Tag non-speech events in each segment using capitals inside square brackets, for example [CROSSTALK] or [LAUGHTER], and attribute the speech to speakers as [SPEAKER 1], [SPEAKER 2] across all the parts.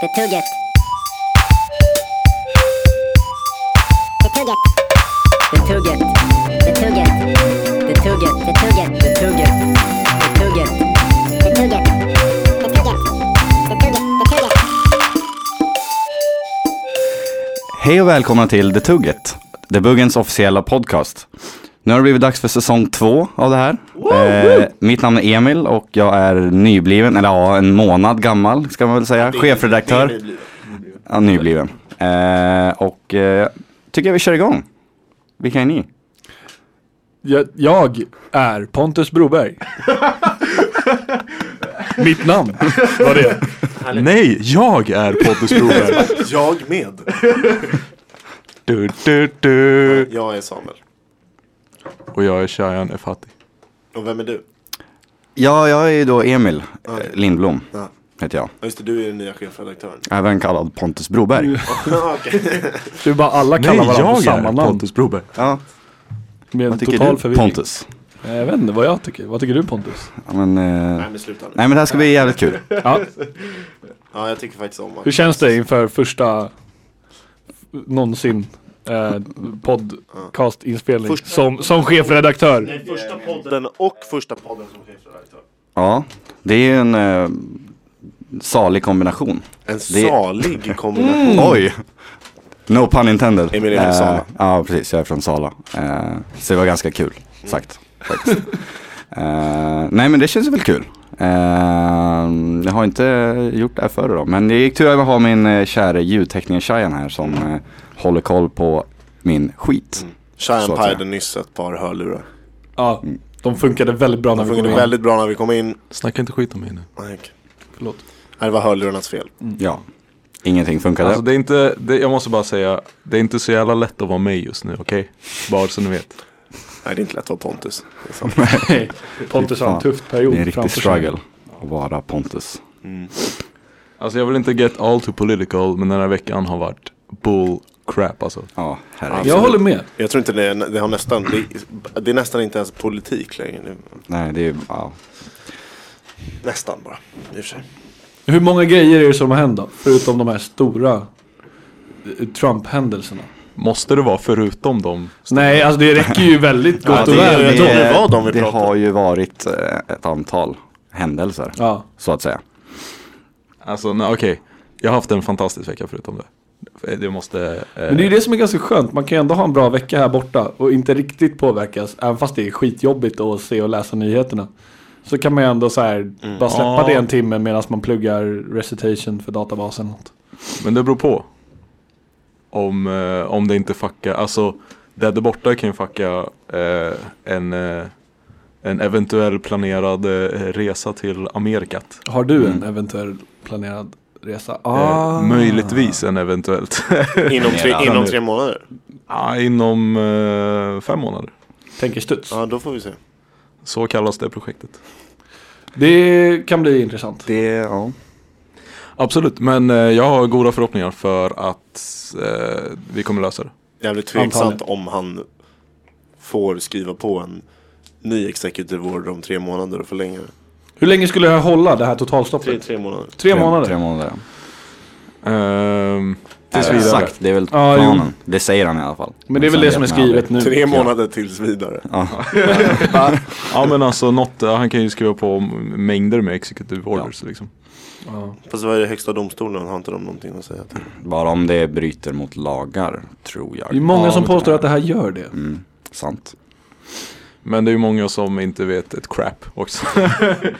[SPEAKER 1] Betugget. Betugget. Betugget. Betugget. Betugget. Betugget. Betugget. Betugget. Betugget. Betugget. Betugget. Betugget.
[SPEAKER 2] Hej och välkomna till The Tugget, The Buggens officiella podcast. Nu har det blivit dags för säsong två av det här. Eh, mitt namn är Emil och jag är nybliven, eller ja, en månad gammal ska man väl säga, chefredaktör. Ja, nybliven. Eh, och eh, tycker jag vi kör igång. Vilka är ni?
[SPEAKER 3] Jag, jag är Pontus [LAUGHS] Broberg. Mitt namn var det.
[SPEAKER 4] Nej, jag är Pontus Broberg.
[SPEAKER 5] Jag med.
[SPEAKER 4] Du, du, du.
[SPEAKER 5] Jag är Samuel.
[SPEAKER 4] Och jag är Shayan Efati.
[SPEAKER 5] Och vem är du?
[SPEAKER 2] Ja, jag är ju då Emil eh, Lindblom,
[SPEAKER 5] Ja.
[SPEAKER 2] heter jag.
[SPEAKER 5] Ja just det, du är den nya chefredaktören.
[SPEAKER 2] Även kallad Pontus
[SPEAKER 3] Mm.
[SPEAKER 2] Broberg.
[SPEAKER 5] Ja, [LAUGHS] okej.
[SPEAKER 3] Du bara alla
[SPEAKER 4] Nej,
[SPEAKER 3] kallar varandra för
[SPEAKER 4] jag
[SPEAKER 3] samma
[SPEAKER 4] är
[SPEAKER 3] namn.
[SPEAKER 4] Pontus Broberg.
[SPEAKER 2] Ja,
[SPEAKER 3] Med en
[SPEAKER 2] vad tycker
[SPEAKER 3] total
[SPEAKER 2] du
[SPEAKER 3] förvirring.
[SPEAKER 2] Pontus?
[SPEAKER 3] Jag vet inte vad jag tycker. Vad tycker du Pontus?
[SPEAKER 2] Ja, men, eh,
[SPEAKER 5] Nej men sluta nu.
[SPEAKER 2] nej men det här ska bli jävligt kul.
[SPEAKER 3] Ja.
[SPEAKER 5] Ja jag tycker faktiskt om att...
[SPEAKER 3] Hur känns det inför första någonsin eh, podcastinspelning
[SPEAKER 5] Första-
[SPEAKER 3] som, som chefredaktör?
[SPEAKER 5] Första podden och första podden som chefredaktör.
[SPEAKER 2] Ja, det är ju en eh, salig kombination.
[SPEAKER 5] En salig kombination.
[SPEAKER 2] Oj! No pun intended.
[SPEAKER 5] Emil är från
[SPEAKER 2] Eh,
[SPEAKER 5] Sala.
[SPEAKER 2] Ja, precis. Jag är från Sala. Eh, så det var ganska kul sagt. faktiskt. Eh, nej, men det känns väl kul. Eh, jag har inte gjort det här förr då. Men det gick tur att ha min eh, kära ljudtekniker Shayan här som eh, håller koll på min skit.
[SPEAKER 5] Cheyenne
[SPEAKER 2] Så att
[SPEAKER 5] pajade
[SPEAKER 2] säga.
[SPEAKER 5] nyss ett par hörlurar.
[SPEAKER 3] Ja, de funkade väldigt bra när
[SPEAKER 5] Det
[SPEAKER 3] vi kom
[SPEAKER 5] fungerade
[SPEAKER 3] in.
[SPEAKER 5] väldigt bra när vi kom in.
[SPEAKER 4] Snacka inte skit om mig nu.
[SPEAKER 5] Nej, okej.
[SPEAKER 3] Förlåt.
[SPEAKER 5] Nej, det var hörlurarnas fel.
[SPEAKER 2] Ja, ingenting funkade.
[SPEAKER 4] Alltså det är inte, det, jag måste bara säga, det är inte så jävla lätt att vara med just nu, okej? Bara så ni vet.
[SPEAKER 5] Nej det är inte lätt att vara Pontus. Det är sant.
[SPEAKER 3] Hej. Pontus har en tuff period
[SPEAKER 2] det är en riktig
[SPEAKER 3] framför sig.
[SPEAKER 2] struggle att vara Pontus.
[SPEAKER 4] Alltså jag vill inte get all too political, men den här veckan har varit bull crap alltså.
[SPEAKER 2] Ja, herregud.
[SPEAKER 3] Jag håller med.
[SPEAKER 5] Jag tror inte det, är, det har nästan, det är, det är nästan inte ens politik längre nu.
[SPEAKER 2] Nej, det är ja.
[SPEAKER 5] Nästan bara, i och för sig.
[SPEAKER 3] Hur många grejer är det som har hänt då? Förutom de här stora eh, Trump-händelserna.
[SPEAKER 4] Måste det vara förutom dem?
[SPEAKER 3] Nej, alltså det räcker ju väldigt gott
[SPEAKER 5] Ja,
[SPEAKER 3] och
[SPEAKER 5] det är-
[SPEAKER 3] väl. med
[SPEAKER 5] tror
[SPEAKER 3] dem.
[SPEAKER 5] det var de vi
[SPEAKER 2] det
[SPEAKER 5] pratade
[SPEAKER 2] har ju varit eh, ett antal händelser,
[SPEAKER 3] Ja.
[SPEAKER 2] så att säga.
[SPEAKER 4] Alltså nej, okej, jag har haft en fantastisk vecka förutom det. Det måste... eh,
[SPEAKER 3] Men det är ju det som är ganska skönt. Man kan ju ändå ha en bra vecka här borta och inte riktigt påverkas. Även fast det är skitjobbigt att se och läsa nyheterna. Så kan man ju ändå så här
[SPEAKER 5] Mm.
[SPEAKER 3] bara släppa
[SPEAKER 4] Ja.
[SPEAKER 3] det en timme medan man pluggar recitation för databasen. och något.
[SPEAKER 4] Men det beror på. Om, eh, om det inte fuckar. Alltså, det där borta kan ju fucka eh, en, eh, en eventuell planerad eh, resa till Amerikat.
[SPEAKER 3] Har du en eventuell planerad resa? Ah.
[SPEAKER 4] Eh, möjligtvis en eventuellt. [LAUGHS]
[SPEAKER 5] Inom tre,
[SPEAKER 2] Planerad.
[SPEAKER 5] inom tre månader?
[SPEAKER 4] ah, inom eh, fem månader.
[SPEAKER 3] Tänker studs.
[SPEAKER 5] Ja, då får vi se.
[SPEAKER 4] Så kallas det projektet.
[SPEAKER 3] Det kan bli intressant.
[SPEAKER 2] Det, ja.
[SPEAKER 4] Absolut, men eh, jag har goda förhoppningar för att eh, vi kommer lösa det.
[SPEAKER 5] Jävligt tveksamt
[SPEAKER 3] Antagligen.
[SPEAKER 5] om han får skriva på en ny executive order om tre månader och förlänga det.
[SPEAKER 3] Hur länge skulle jag hålla det här
[SPEAKER 5] Tre,
[SPEAKER 3] totalstoppet?
[SPEAKER 5] tre månader.
[SPEAKER 3] Tre, månader?
[SPEAKER 2] Tre månader.
[SPEAKER 4] Ehm,
[SPEAKER 2] Tills
[SPEAKER 4] vidare.
[SPEAKER 2] Exakt, det är väl
[SPEAKER 3] Ja, jo.
[SPEAKER 2] planen. Det säger han i alla fall.
[SPEAKER 3] Men det är väl
[SPEAKER 2] sen
[SPEAKER 3] det som är
[SPEAKER 2] vet man
[SPEAKER 3] skrivet nu.
[SPEAKER 5] Tre månader tills vidare.
[SPEAKER 4] ja men alltså något, eh, han kan ju skriva på mängder med executive orders liksom.
[SPEAKER 3] Ja.
[SPEAKER 5] Fast vad är det högsta domstolen? Har inte de någonting att säga till?
[SPEAKER 2] aldrig. Bara om det bryter mot lagar, tror jag.
[SPEAKER 3] Det är många
[SPEAKER 4] Ja,
[SPEAKER 3] som
[SPEAKER 4] men-
[SPEAKER 3] påstår att det här gör det.
[SPEAKER 2] Mm, sant.
[SPEAKER 4] Men det är ju många som inte vet ett crap också. [LAUGHS]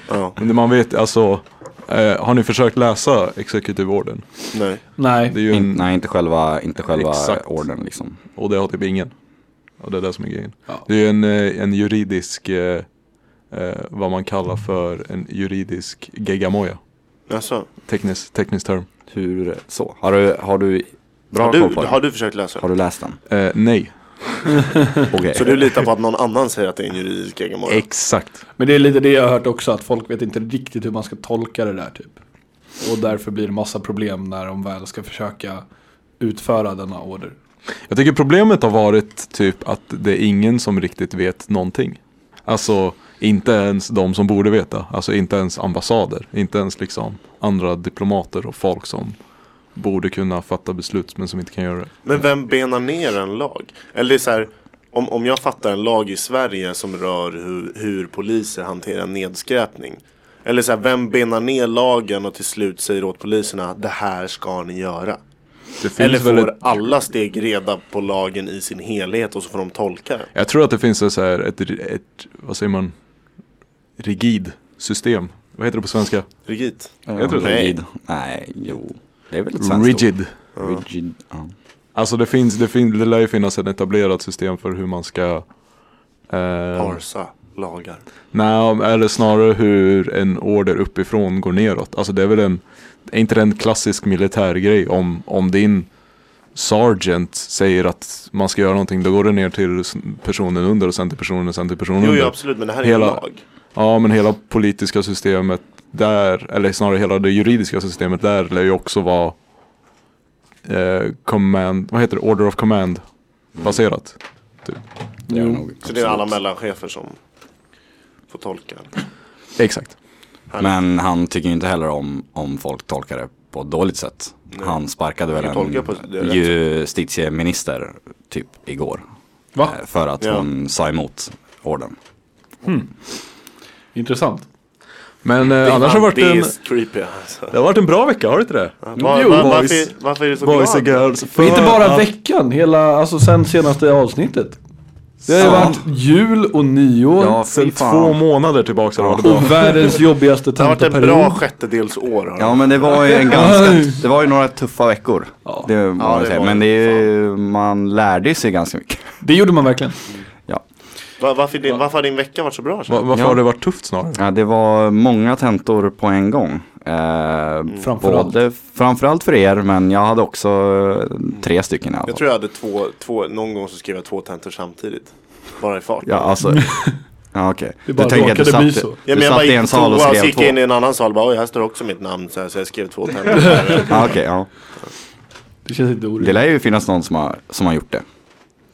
[SPEAKER 5] Ja,
[SPEAKER 4] Men det man vet, alltså, eh, har ni försökt läsa Executive Orden?
[SPEAKER 5] nej.
[SPEAKER 3] Nej.
[SPEAKER 4] Det är
[SPEAKER 5] Mm.
[SPEAKER 4] ju
[SPEAKER 2] In,
[SPEAKER 4] en,
[SPEAKER 2] nej, inte själva, inte själva
[SPEAKER 4] Exakt.
[SPEAKER 2] orden liksom.
[SPEAKER 4] och det har typ ingen. Och det är det som är grejen.
[SPEAKER 3] Ja.
[SPEAKER 4] Det är ju en, eh, en juridisk, eh, eh, vad man kallar för en juridisk geggamoja.
[SPEAKER 5] Alltså,
[SPEAKER 4] Teknisk, teknisk term.
[SPEAKER 2] Hur så? Har du, har du bra
[SPEAKER 5] har,
[SPEAKER 2] koll på
[SPEAKER 5] du,
[SPEAKER 2] det?
[SPEAKER 5] har du försökt läsa?
[SPEAKER 2] Har du läst
[SPEAKER 5] [LAUGHS]
[SPEAKER 2] den?
[SPEAKER 4] Eh, nej.
[SPEAKER 2] Okej.
[SPEAKER 5] Så du litar på att någon annan säger att det är en juridisk egenmål?
[SPEAKER 4] Exakt.
[SPEAKER 3] Men det är lite det jag har hört också, att folk vet inte riktigt hur man ska tolka det där typ. Och därför blir det massa problem när de väl ska försöka utföra denna order.
[SPEAKER 4] Jag tycker problemet har varit typ att det är ingen som riktigt vet någonting. Alltså inte ens de som borde veta. Alltså inte ens ambassader. Inte ens liksom andra diplomater och folk som borde kunna fatta beslut men som inte kan göra det.
[SPEAKER 5] Men vem benar ner en lag? Eller det är så här, om, om jag fattar en lag i Sverige som rör hur, hur poliser hanterar nedskräpning. Eller så här, vem benar ner lagen och till slut säger åt poliserna det här ska ni göra.
[SPEAKER 4] det finns
[SPEAKER 5] Eller
[SPEAKER 4] väl
[SPEAKER 5] får
[SPEAKER 4] ett,
[SPEAKER 5] alla steg reda på lagen i sin helhet och så får de tolka det.
[SPEAKER 4] Jag tror att det finns ett, så här, ett, ett, vad säger man, rigid system. Vad heter det på svenska?
[SPEAKER 5] Rigid.
[SPEAKER 4] Jag tror det.
[SPEAKER 2] Rigid. Nej, jo. Det är väl ett svenskt
[SPEAKER 4] Rigid.
[SPEAKER 2] ord. Rigid. Ja.
[SPEAKER 4] Alltså det finns, det finns, det lär ju finnas ett etablerat system för hur man ska eh,
[SPEAKER 5] Parsa lagar.
[SPEAKER 4] Nej, eller snarare hur en order uppifrån går neråt. Alltså det är väl en, är inte det en klassisk militärgrej om, om din sergeant säger att man ska göra någonting, då går det ner till s- personen under och sen till personen och sen till personen
[SPEAKER 5] Jo,
[SPEAKER 4] under.
[SPEAKER 5] jo absolut, men det här är
[SPEAKER 4] Hela-
[SPEAKER 5] en lag.
[SPEAKER 4] Ja, men hela politiska systemet där, eller snarare hela det juridiska systemet där lär ju också vara eh, command, vad heter det, order of command baserat.
[SPEAKER 2] Det är nog,
[SPEAKER 5] Så det är alla
[SPEAKER 2] absolut.
[SPEAKER 5] mellanchefer som får tolka.
[SPEAKER 4] Exakt.
[SPEAKER 2] Men han tycker ju inte heller om, om folk tolkar det på ett dåligt sätt. Han sparkade väl
[SPEAKER 5] Jag tolkar på det
[SPEAKER 2] en
[SPEAKER 5] rätt.
[SPEAKER 2] justitieminister typ igår.
[SPEAKER 3] Va?
[SPEAKER 2] Eh, För att
[SPEAKER 5] Ja.
[SPEAKER 2] hon sa emot orden.
[SPEAKER 3] Intressant.
[SPEAKER 4] Men eh, annars har det varit
[SPEAKER 5] det
[SPEAKER 4] en,
[SPEAKER 5] är creepy alltså.
[SPEAKER 4] det har varit en bra vecka, har det inte det?
[SPEAKER 5] Var,
[SPEAKER 3] Jo,
[SPEAKER 5] var,
[SPEAKER 4] boys.
[SPEAKER 5] varför, varför är du så
[SPEAKER 4] Boys and
[SPEAKER 5] glad?
[SPEAKER 4] girls.
[SPEAKER 3] Men inte bara
[SPEAKER 4] Ja.
[SPEAKER 3] veckan, hela, alltså sen senaste avsnittet. Det har ju
[SPEAKER 2] Ja.
[SPEAKER 3] varit jul och nyår.
[SPEAKER 2] Ja, fy
[SPEAKER 4] Sen Mm. två
[SPEAKER 2] fan.
[SPEAKER 4] månader tillbaka har det varit bra.
[SPEAKER 2] [LAUGHS]
[SPEAKER 3] Och världens jobbigaste
[SPEAKER 5] Det har varit en bra
[SPEAKER 3] tentaperiod.
[SPEAKER 5] sjättedelsår. har det
[SPEAKER 2] Ja men det var ju en ganska, det var ju några tuffa veckor.
[SPEAKER 3] Ja.
[SPEAKER 2] Det, må man
[SPEAKER 5] det
[SPEAKER 2] säga.
[SPEAKER 5] var
[SPEAKER 2] men det
[SPEAKER 5] det.
[SPEAKER 2] är ju, man lärde sig ganska mycket. [LAUGHS]
[SPEAKER 3] Det gjorde man verkligen.
[SPEAKER 2] Ja.
[SPEAKER 5] Va- varför, din, varför har din vecka varit så bra?
[SPEAKER 4] Va-
[SPEAKER 5] Så?
[SPEAKER 4] Varför
[SPEAKER 2] Ja.
[SPEAKER 4] har det varit tufft snarare?
[SPEAKER 2] Ja, det var många tentor på en gång. Eh,
[SPEAKER 3] Framförallt.
[SPEAKER 2] både- Framförallt för er, men jag hade också eh, tre stycken i alla
[SPEAKER 5] Jag
[SPEAKER 2] fall.
[SPEAKER 5] tror jag hade två, två, någon gång så skrev jag två tentor samtidigt. Bara i fart.
[SPEAKER 2] Ja, alltså. ja, okej.
[SPEAKER 3] Mm. Det bara
[SPEAKER 2] du
[SPEAKER 3] råkade
[SPEAKER 2] satt,
[SPEAKER 3] bli så. Ja,
[SPEAKER 2] du
[SPEAKER 5] Ja, men jag
[SPEAKER 2] satt
[SPEAKER 5] bara
[SPEAKER 2] i en
[SPEAKER 5] gick på
[SPEAKER 2] sal och
[SPEAKER 5] toa och så
[SPEAKER 2] skrev
[SPEAKER 5] gick
[SPEAKER 2] två.
[SPEAKER 5] jag in i en annan sal och bara oj, här står också mitt namn så, här, så jag skrev
[SPEAKER 2] [LAUGHS]
[SPEAKER 5] två tentor.
[SPEAKER 2] Ja, okej, ja.
[SPEAKER 3] Det känns inte
[SPEAKER 2] Det
[SPEAKER 3] orimligt.
[SPEAKER 2] lär ju finnas någon som har, som har gjort det.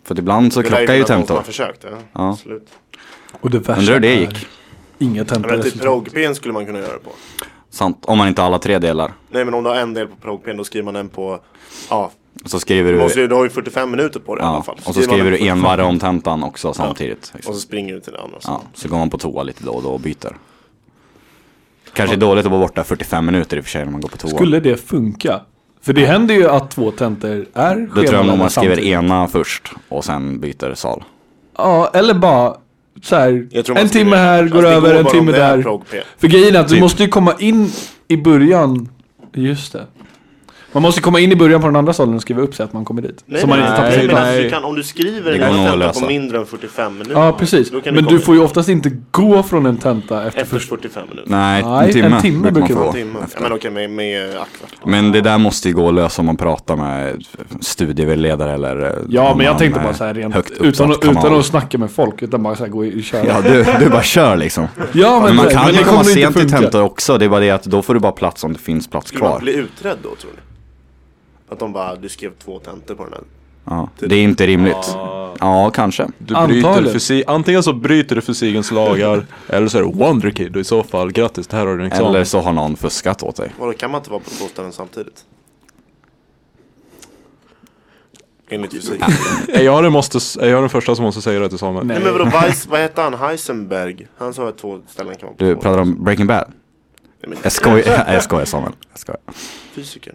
[SPEAKER 2] För att ibland så krockar ju tentor.
[SPEAKER 5] Jag försökt. Ja.
[SPEAKER 2] Ja.
[SPEAKER 5] Absolut.
[SPEAKER 3] Och det värsta
[SPEAKER 2] Undrar hur det
[SPEAKER 3] är
[SPEAKER 2] gick.
[SPEAKER 3] Inga
[SPEAKER 5] Men typ
[SPEAKER 3] tentaresultat.
[SPEAKER 5] progpen skulle man kunna göra det på.
[SPEAKER 2] Sant, om man inte har alla tre delar.
[SPEAKER 5] Nej men om du har en del på progpen då skriver man en på, ja,
[SPEAKER 2] Så skriver
[SPEAKER 5] du,
[SPEAKER 2] du,
[SPEAKER 5] måste, ju- du har ju 45 minuter på det i alla
[SPEAKER 2] ja,
[SPEAKER 5] fall.
[SPEAKER 2] och så
[SPEAKER 5] man
[SPEAKER 2] skriver du
[SPEAKER 5] en på 45
[SPEAKER 2] envarv om tentan också samtidigt.
[SPEAKER 5] Och så springer du till den andra.
[SPEAKER 2] Ja, så går man på toa lite då och då och byter. Kanske är dåligt att vara borta 45 minuter i och för sig när man går på toa.
[SPEAKER 3] Skulle det funka? För det händer ju att två tentor är
[SPEAKER 2] Då tror jag nog man skriver
[SPEAKER 3] samtidigt.
[SPEAKER 2] ena först och sen byter sal.
[SPEAKER 3] Ja, eller bara så här,
[SPEAKER 5] Jag tror man
[SPEAKER 3] en
[SPEAKER 5] skriver-
[SPEAKER 3] timme
[SPEAKER 5] Fast
[SPEAKER 3] här Alltså, går
[SPEAKER 5] det
[SPEAKER 3] över, en
[SPEAKER 5] bara
[SPEAKER 3] timme
[SPEAKER 5] om det är
[SPEAKER 3] där.
[SPEAKER 5] progpen.
[SPEAKER 3] För grejen är att du
[SPEAKER 2] Typ.
[SPEAKER 3] måste ju komma in i början. Just det. Man måste komma in i början på den andra salen och skriva upp sig att man kommer dit.
[SPEAKER 5] Nej,
[SPEAKER 3] så man
[SPEAKER 5] nej,
[SPEAKER 3] inte tappar
[SPEAKER 5] nej,
[SPEAKER 4] sig
[SPEAKER 5] men
[SPEAKER 4] bort.
[SPEAKER 5] alltså, du
[SPEAKER 4] Nej.
[SPEAKER 5] kan, om du skriver
[SPEAKER 2] Det
[SPEAKER 5] en
[SPEAKER 2] går nog att
[SPEAKER 5] tenta
[SPEAKER 2] lösa.
[SPEAKER 5] på mindre än 45 minuter.
[SPEAKER 3] Ja, precis.
[SPEAKER 5] då kan
[SPEAKER 3] Men
[SPEAKER 5] komma
[SPEAKER 3] du får ju
[SPEAKER 5] in.
[SPEAKER 3] oftast inte gå från en tenta efter
[SPEAKER 5] Efter
[SPEAKER 3] först.
[SPEAKER 5] 45 minuter.
[SPEAKER 2] Nej,
[SPEAKER 3] Nej,
[SPEAKER 2] en timme,
[SPEAKER 3] en timme
[SPEAKER 2] brukar man
[SPEAKER 3] brukar
[SPEAKER 2] få.
[SPEAKER 5] En timme. Ja, men okej, med, med Aqua.
[SPEAKER 2] Men det där måste ju gå att lösa om man pratar med studievägledare eller eh,
[SPEAKER 3] Ja,
[SPEAKER 2] om
[SPEAKER 3] men jag
[SPEAKER 2] man
[SPEAKER 3] tänkte
[SPEAKER 2] är
[SPEAKER 3] bara så här rent
[SPEAKER 2] högt
[SPEAKER 3] utan,
[SPEAKER 2] uppsatt
[SPEAKER 3] att- utan
[SPEAKER 2] kamal.
[SPEAKER 3] att snacka med folk. Utan bara så här gå i- köra.
[SPEAKER 2] Ja, du, du bara kör liksom.
[SPEAKER 3] [LAUGHS] Ja,
[SPEAKER 2] Men man
[SPEAKER 3] det-
[SPEAKER 2] kan ju
[SPEAKER 3] det
[SPEAKER 2] komma
[SPEAKER 3] kommer inte
[SPEAKER 2] sent till
[SPEAKER 3] funka.
[SPEAKER 2] tentor också, det är bara det att då får du bara plats om det finns plats
[SPEAKER 5] Skulle man
[SPEAKER 2] kvar.
[SPEAKER 5] bli utredd då tror ni? Att de bara, du skrev två tentor på den här.
[SPEAKER 2] Ja, det är inte rimligt. Ja, kanske.
[SPEAKER 4] Du bryter
[SPEAKER 3] Antagligen.
[SPEAKER 4] fysi- antingen så bryter du
[SPEAKER 2] [LAUGHS]
[SPEAKER 4] fysikens lagar, eller så är du wonderkid och i så fall grattis, det här har du en
[SPEAKER 3] Liksom.
[SPEAKER 4] examen.
[SPEAKER 2] Eller så har någon fuskat åt dig.
[SPEAKER 5] Vadå, kan man inte vara på två ställen samtidigt? Enligt fysik.
[SPEAKER 4] Är, jag den måste, är jag den första som måste säga det till Samuel?
[SPEAKER 3] Nej.
[SPEAKER 5] Nej men vadå, Weiss, vad hette han? Heisenberg? Han sa att två ställen kan vara på
[SPEAKER 2] Du
[SPEAKER 5] två.
[SPEAKER 2] pratar om Breaking Bad?
[SPEAKER 5] Nej, men
[SPEAKER 2] Jag skojar,
[SPEAKER 3] [LAUGHS]
[SPEAKER 2] jag skojar Samuel. Jag skojar.
[SPEAKER 5] fysikern.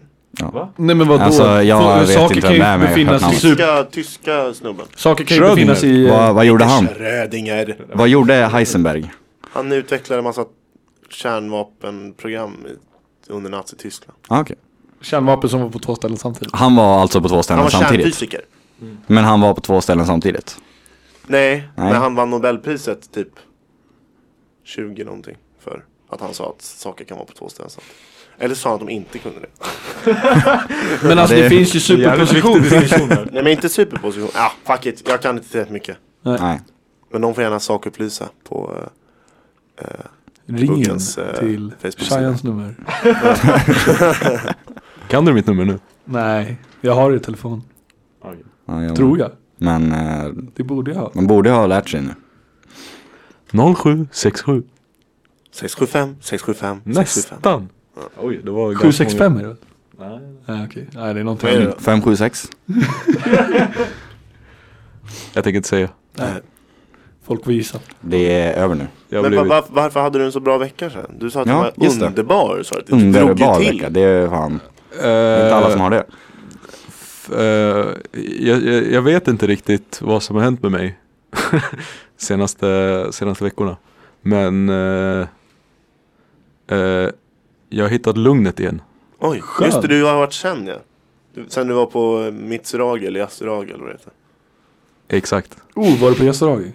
[SPEAKER 3] Nej men vadå?
[SPEAKER 2] Alltså, jag
[SPEAKER 3] För-
[SPEAKER 2] vet
[SPEAKER 3] saker
[SPEAKER 2] inte
[SPEAKER 3] kan ju
[SPEAKER 2] vem det är, men jag
[SPEAKER 3] befinnas
[SPEAKER 2] har
[SPEAKER 3] i
[SPEAKER 2] hört
[SPEAKER 3] super...
[SPEAKER 5] Tyska, tyska snubben.
[SPEAKER 3] Saker kan ju befinnas i... eh,
[SPEAKER 2] Vad, vad gjorde han?
[SPEAKER 5] Schrödinger.
[SPEAKER 2] Vad gjorde Heisenberg?
[SPEAKER 5] Han utvecklade en massa kärnvapenprogram i, under Nazityskland.
[SPEAKER 2] Ah, okej.
[SPEAKER 3] Kärnvapen som var på två ställen samtidigt.
[SPEAKER 2] Han var alltså på två
[SPEAKER 5] Han
[SPEAKER 2] ställen
[SPEAKER 5] var
[SPEAKER 2] samtidigt.
[SPEAKER 5] kärnfysiker.
[SPEAKER 2] Men han var på två ställen samtidigt.
[SPEAKER 5] Nej,
[SPEAKER 2] Nej.
[SPEAKER 5] när han vann Nobelpriset typ 20 någonting för att han sa att saker kan vara på två ställen samtidigt. Eller sa han att de inte kunde det?
[SPEAKER 3] Men alltså det,
[SPEAKER 2] det-
[SPEAKER 3] finns ju superposition. [LAUGHS]
[SPEAKER 5] Nej men inte superposition. Ah, fuck it. Jag kan inte tillräckligt mycket.
[SPEAKER 2] Nej.
[SPEAKER 5] Men de får gärna sakupplysa på eh,
[SPEAKER 3] Ring in
[SPEAKER 5] Bokens, eh,
[SPEAKER 3] till
[SPEAKER 5] Facebook-sida.
[SPEAKER 3] Shayans nummer.
[SPEAKER 4] Kan du mitt nummer nu?
[SPEAKER 3] Nej, jag har det i telefon.
[SPEAKER 2] Ja, ja.
[SPEAKER 3] Tror jag.
[SPEAKER 2] Men eh,
[SPEAKER 3] Det borde jag ha.
[SPEAKER 2] man borde ha lärt sig nu.
[SPEAKER 4] 0767.
[SPEAKER 5] 675, 675, 675.
[SPEAKER 4] Nästan. Oj, det var ganska
[SPEAKER 3] 765
[SPEAKER 4] många-
[SPEAKER 3] är det
[SPEAKER 4] Nej.
[SPEAKER 3] Nej, okej. Nej, det är någonting.
[SPEAKER 5] Vad är det då?
[SPEAKER 2] 576.
[SPEAKER 4] Jag tänker inte säga.
[SPEAKER 3] Nej. Folk får gissa.
[SPEAKER 2] Det är över nu.
[SPEAKER 4] Jag har
[SPEAKER 5] Men va,
[SPEAKER 4] blivit...
[SPEAKER 5] va, varför hade du en så bra vecka sen? Du sa att
[SPEAKER 2] Ja,
[SPEAKER 5] det var
[SPEAKER 2] just det.
[SPEAKER 5] underbar. Sa du. du drog ju
[SPEAKER 2] Underbar
[SPEAKER 5] till.
[SPEAKER 2] vecka. Det är fan
[SPEAKER 4] Eh,
[SPEAKER 2] inte alla som har det.
[SPEAKER 4] f- eh, jag, jag, jag vet inte riktigt vad som har hänt med mig [LAUGHS] senaste, senaste veckorna. Men eh, eh, jag har hittat lugnet igen.
[SPEAKER 5] Oj,
[SPEAKER 3] Skön.
[SPEAKER 5] just det, du har varit sen ja. Du- Sen du var på eh, Mitzrag eller Yassrag eller vad det heter.
[SPEAKER 4] Exakt,
[SPEAKER 3] Oh, var du på Yasuragi?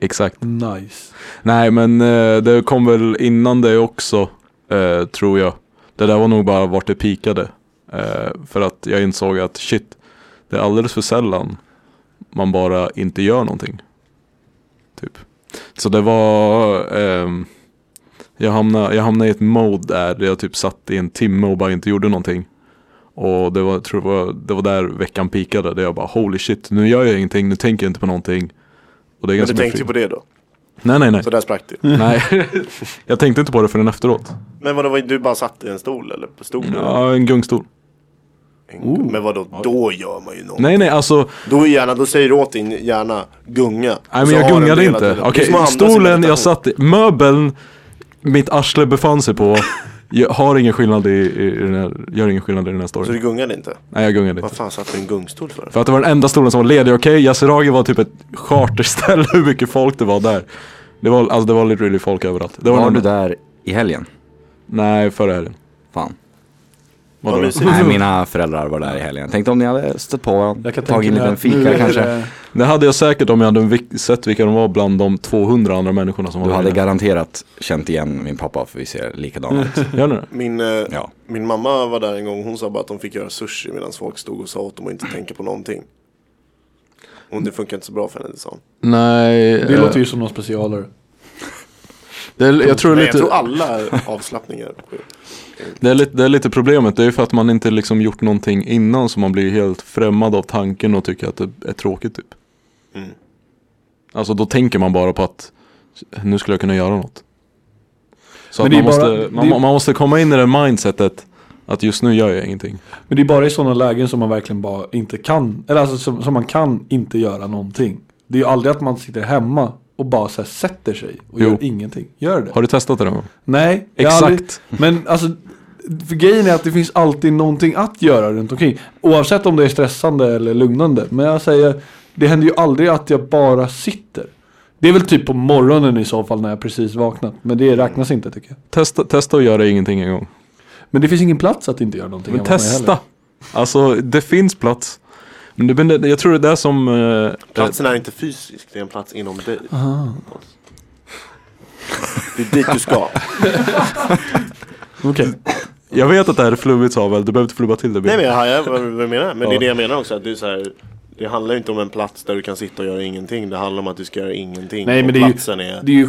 [SPEAKER 4] exakt.
[SPEAKER 3] Nice.
[SPEAKER 4] Nej men eh, det kom väl innan det också eh, tror jag. Det där var nog bara vart det pikade. Eh, för att jag insåg att shit, det är alldeles för sällan man bara inte gör någonting. Typ. Så det var, ehm, jag, hamnade, jag hamnade i ett mode där, där jag typ satt i en timme och bara inte gjorde någonting. Och det var, jag tror det var, det var där veckan pikade, där jag bara holy shit, nu gör jag ingenting, nu tänker jag inte på någonting. Och det är
[SPEAKER 5] Men du
[SPEAKER 4] ganska
[SPEAKER 5] tänkte ju
[SPEAKER 4] befriande.
[SPEAKER 5] på det då.
[SPEAKER 4] Nej nej nej.
[SPEAKER 5] Så där sprack det.
[SPEAKER 4] Mm. Nej, [LAUGHS] jag tänkte inte på det förrän efteråt.
[SPEAKER 5] Men vadå, var- du bara satt i en stol eller på stolen?
[SPEAKER 4] Ja, en gungstol.
[SPEAKER 5] En- Men vadå, då gör man ju något.
[SPEAKER 4] Nej, nej, alltså.
[SPEAKER 5] Då, är gärna, då säger du åt din hjärna gunga.
[SPEAKER 4] Nej,
[SPEAKER 5] Så
[SPEAKER 4] men
[SPEAKER 5] har
[SPEAKER 4] jag
[SPEAKER 5] den det hela
[SPEAKER 4] gungade inte.
[SPEAKER 5] tiden. Det är
[SPEAKER 4] Okej,
[SPEAKER 5] som att hamna i
[SPEAKER 4] stolen
[SPEAKER 5] meditation.
[SPEAKER 4] jag satt i, möbeln mitt arsle befann sig på. Jag har ingen skillnad i, i, den här, gör ingen skillnad i den här
[SPEAKER 5] Så du
[SPEAKER 4] storyn.
[SPEAKER 5] gungade inte?
[SPEAKER 4] Nej, jag gungade
[SPEAKER 5] Vad
[SPEAKER 4] inte.
[SPEAKER 5] fan satt du i en gungstol för?
[SPEAKER 4] För att det var den enda stolen som var ledig. Okej, Yasuragi var typ ett charterställe [LAUGHS] hur mycket folk det var där. Det var, alltså det var literally folk överallt. Det var
[SPEAKER 2] Var
[SPEAKER 4] den
[SPEAKER 2] du
[SPEAKER 4] enda-
[SPEAKER 2] där i helgen?
[SPEAKER 4] Nej, förra helgen.
[SPEAKER 2] Fan.
[SPEAKER 5] Vad
[SPEAKER 4] Vadå?
[SPEAKER 5] mysigt.
[SPEAKER 2] Nej, mina föräldrar var där i helgen. Tänkte om ni hade stött på varandra,
[SPEAKER 3] Jag kan
[SPEAKER 2] tagit en
[SPEAKER 3] tänka
[SPEAKER 2] liten
[SPEAKER 3] mig att nu är
[SPEAKER 2] fika
[SPEAKER 3] det-
[SPEAKER 2] kanske.
[SPEAKER 4] Det hade jag säkert om jag hade vik- sett vilka de var bland de 200 andra människorna som var
[SPEAKER 2] Du
[SPEAKER 4] där
[SPEAKER 2] hade
[SPEAKER 4] inne.
[SPEAKER 2] garanterat känt igen min pappa för vi ser likadana
[SPEAKER 4] [LAUGHS]
[SPEAKER 2] ut.
[SPEAKER 4] Gör ni det?
[SPEAKER 5] Min, eh,
[SPEAKER 2] Ja.
[SPEAKER 5] min mamma var där en gång, hon sa bara att de fick göra sushi medan folk stod och sa åt dem att inte tänka på någonting. Och det funkar inte så bra för henne, det sa hon.
[SPEAKER 4] Nej,
[SPEAKER 3] Det låter ju som någon specialare.
[SPEAKER 4] det är, jag tror det
[SPEAKER 5] Nej,
[SPEAKER 4] är
[SPEAKER 5] jag tror
[SPEAKER 4] lite,
[SPEAKER 5] alla [LAUGHS] avslappningar. Mm.
[SPEAKER 4] det är lite, det är lite problemet. Det är ju för att man inte liksom gjort någonting innan så man blir helt främmad av tanken och tycker att det är tråkigt typ.
[SPEAKER 5] Mm.
[SPEAKER 4] Alltså då tänker man bara på att nu skulle jag kunna göra något. Så
[SPEAKER 3] Men det
[SPEAKER 4] att
[SPEAKER 3] är
[SPEAKER 4] man,
[SPEAKER 3] bara-
[SPEAKER 4] måste, man,
[SPEAKER 3] det är-
[SPEAKER 4] man måste komma in i det mindsetet att just nu gör jag ingenting.
[SPEAKER 3] Men det är bara i sådana lägen som man verkligen bara inte kan, eller alltså som, som man kan inte göra någonting. Det är ju aldrig att man sitter hemma och bara så här sätter sig och
[SPEAKER 4] Jo.
[SPEAKER 3] gör ingenting. Gör det?
[SPEAKER 4] Har du testat det någon gång?
[SPEAKER 3] Nej, jag har
[SPEAKER 4] Exakt.
[SPEAKER 3] Aldrig, men alltså, för grejen är att det finns alltid någonting att göra runt omkring. Oavsett om det är stressande eller lugnande. Men jag säger, det händer ju aldrig att jag bara sitter. Det är väl typ på morgonen i så fall när jag precis vaknat. Men det räknas inte tycker jag.
[SPEAKER 4] Testa, testa att göra ingenting en gång.
[SPEAKER 3] Men det finns ingen plats att inte göra någonting.
[SPEAKER 4] Men
[SPEAKER 3] hemma med
[SPEAKER 4] testa!
[SPEAKER 3] heller.
[SPEAKER 4] Alltså det finns plats. Men det, men det, jag tror det är det som... eh,
[SPEAKER 5] Platsen är inte fysisk, det är en plats inom dig. Det är dit du ska.
[SPEAKER 3] Okej.
[SPEAKER 4] Jag vet att det här är flummigt Samuel, du behöver inte flubba till
[SPEAKER 5] [LAUGHS]
[SPEAKER 4] det.
[SPEAKER 5] Nej men jag hajar vad vad du menar. Men det
[SPEAKER 4] Ja.
[SPEAKER 5] är det jag menar också. Att det, är så här, det handlar ju inte om en plats där du kan sitta och göra ingenting. Det handlar om att du ska göra ingenting.
[SPEAKER 3] Nej,
[SPEAKER 5] och
[SPEAKER 3] men det är ju-
[SPEAKER 5] platsen är
[SPEAKER 3] Det är ju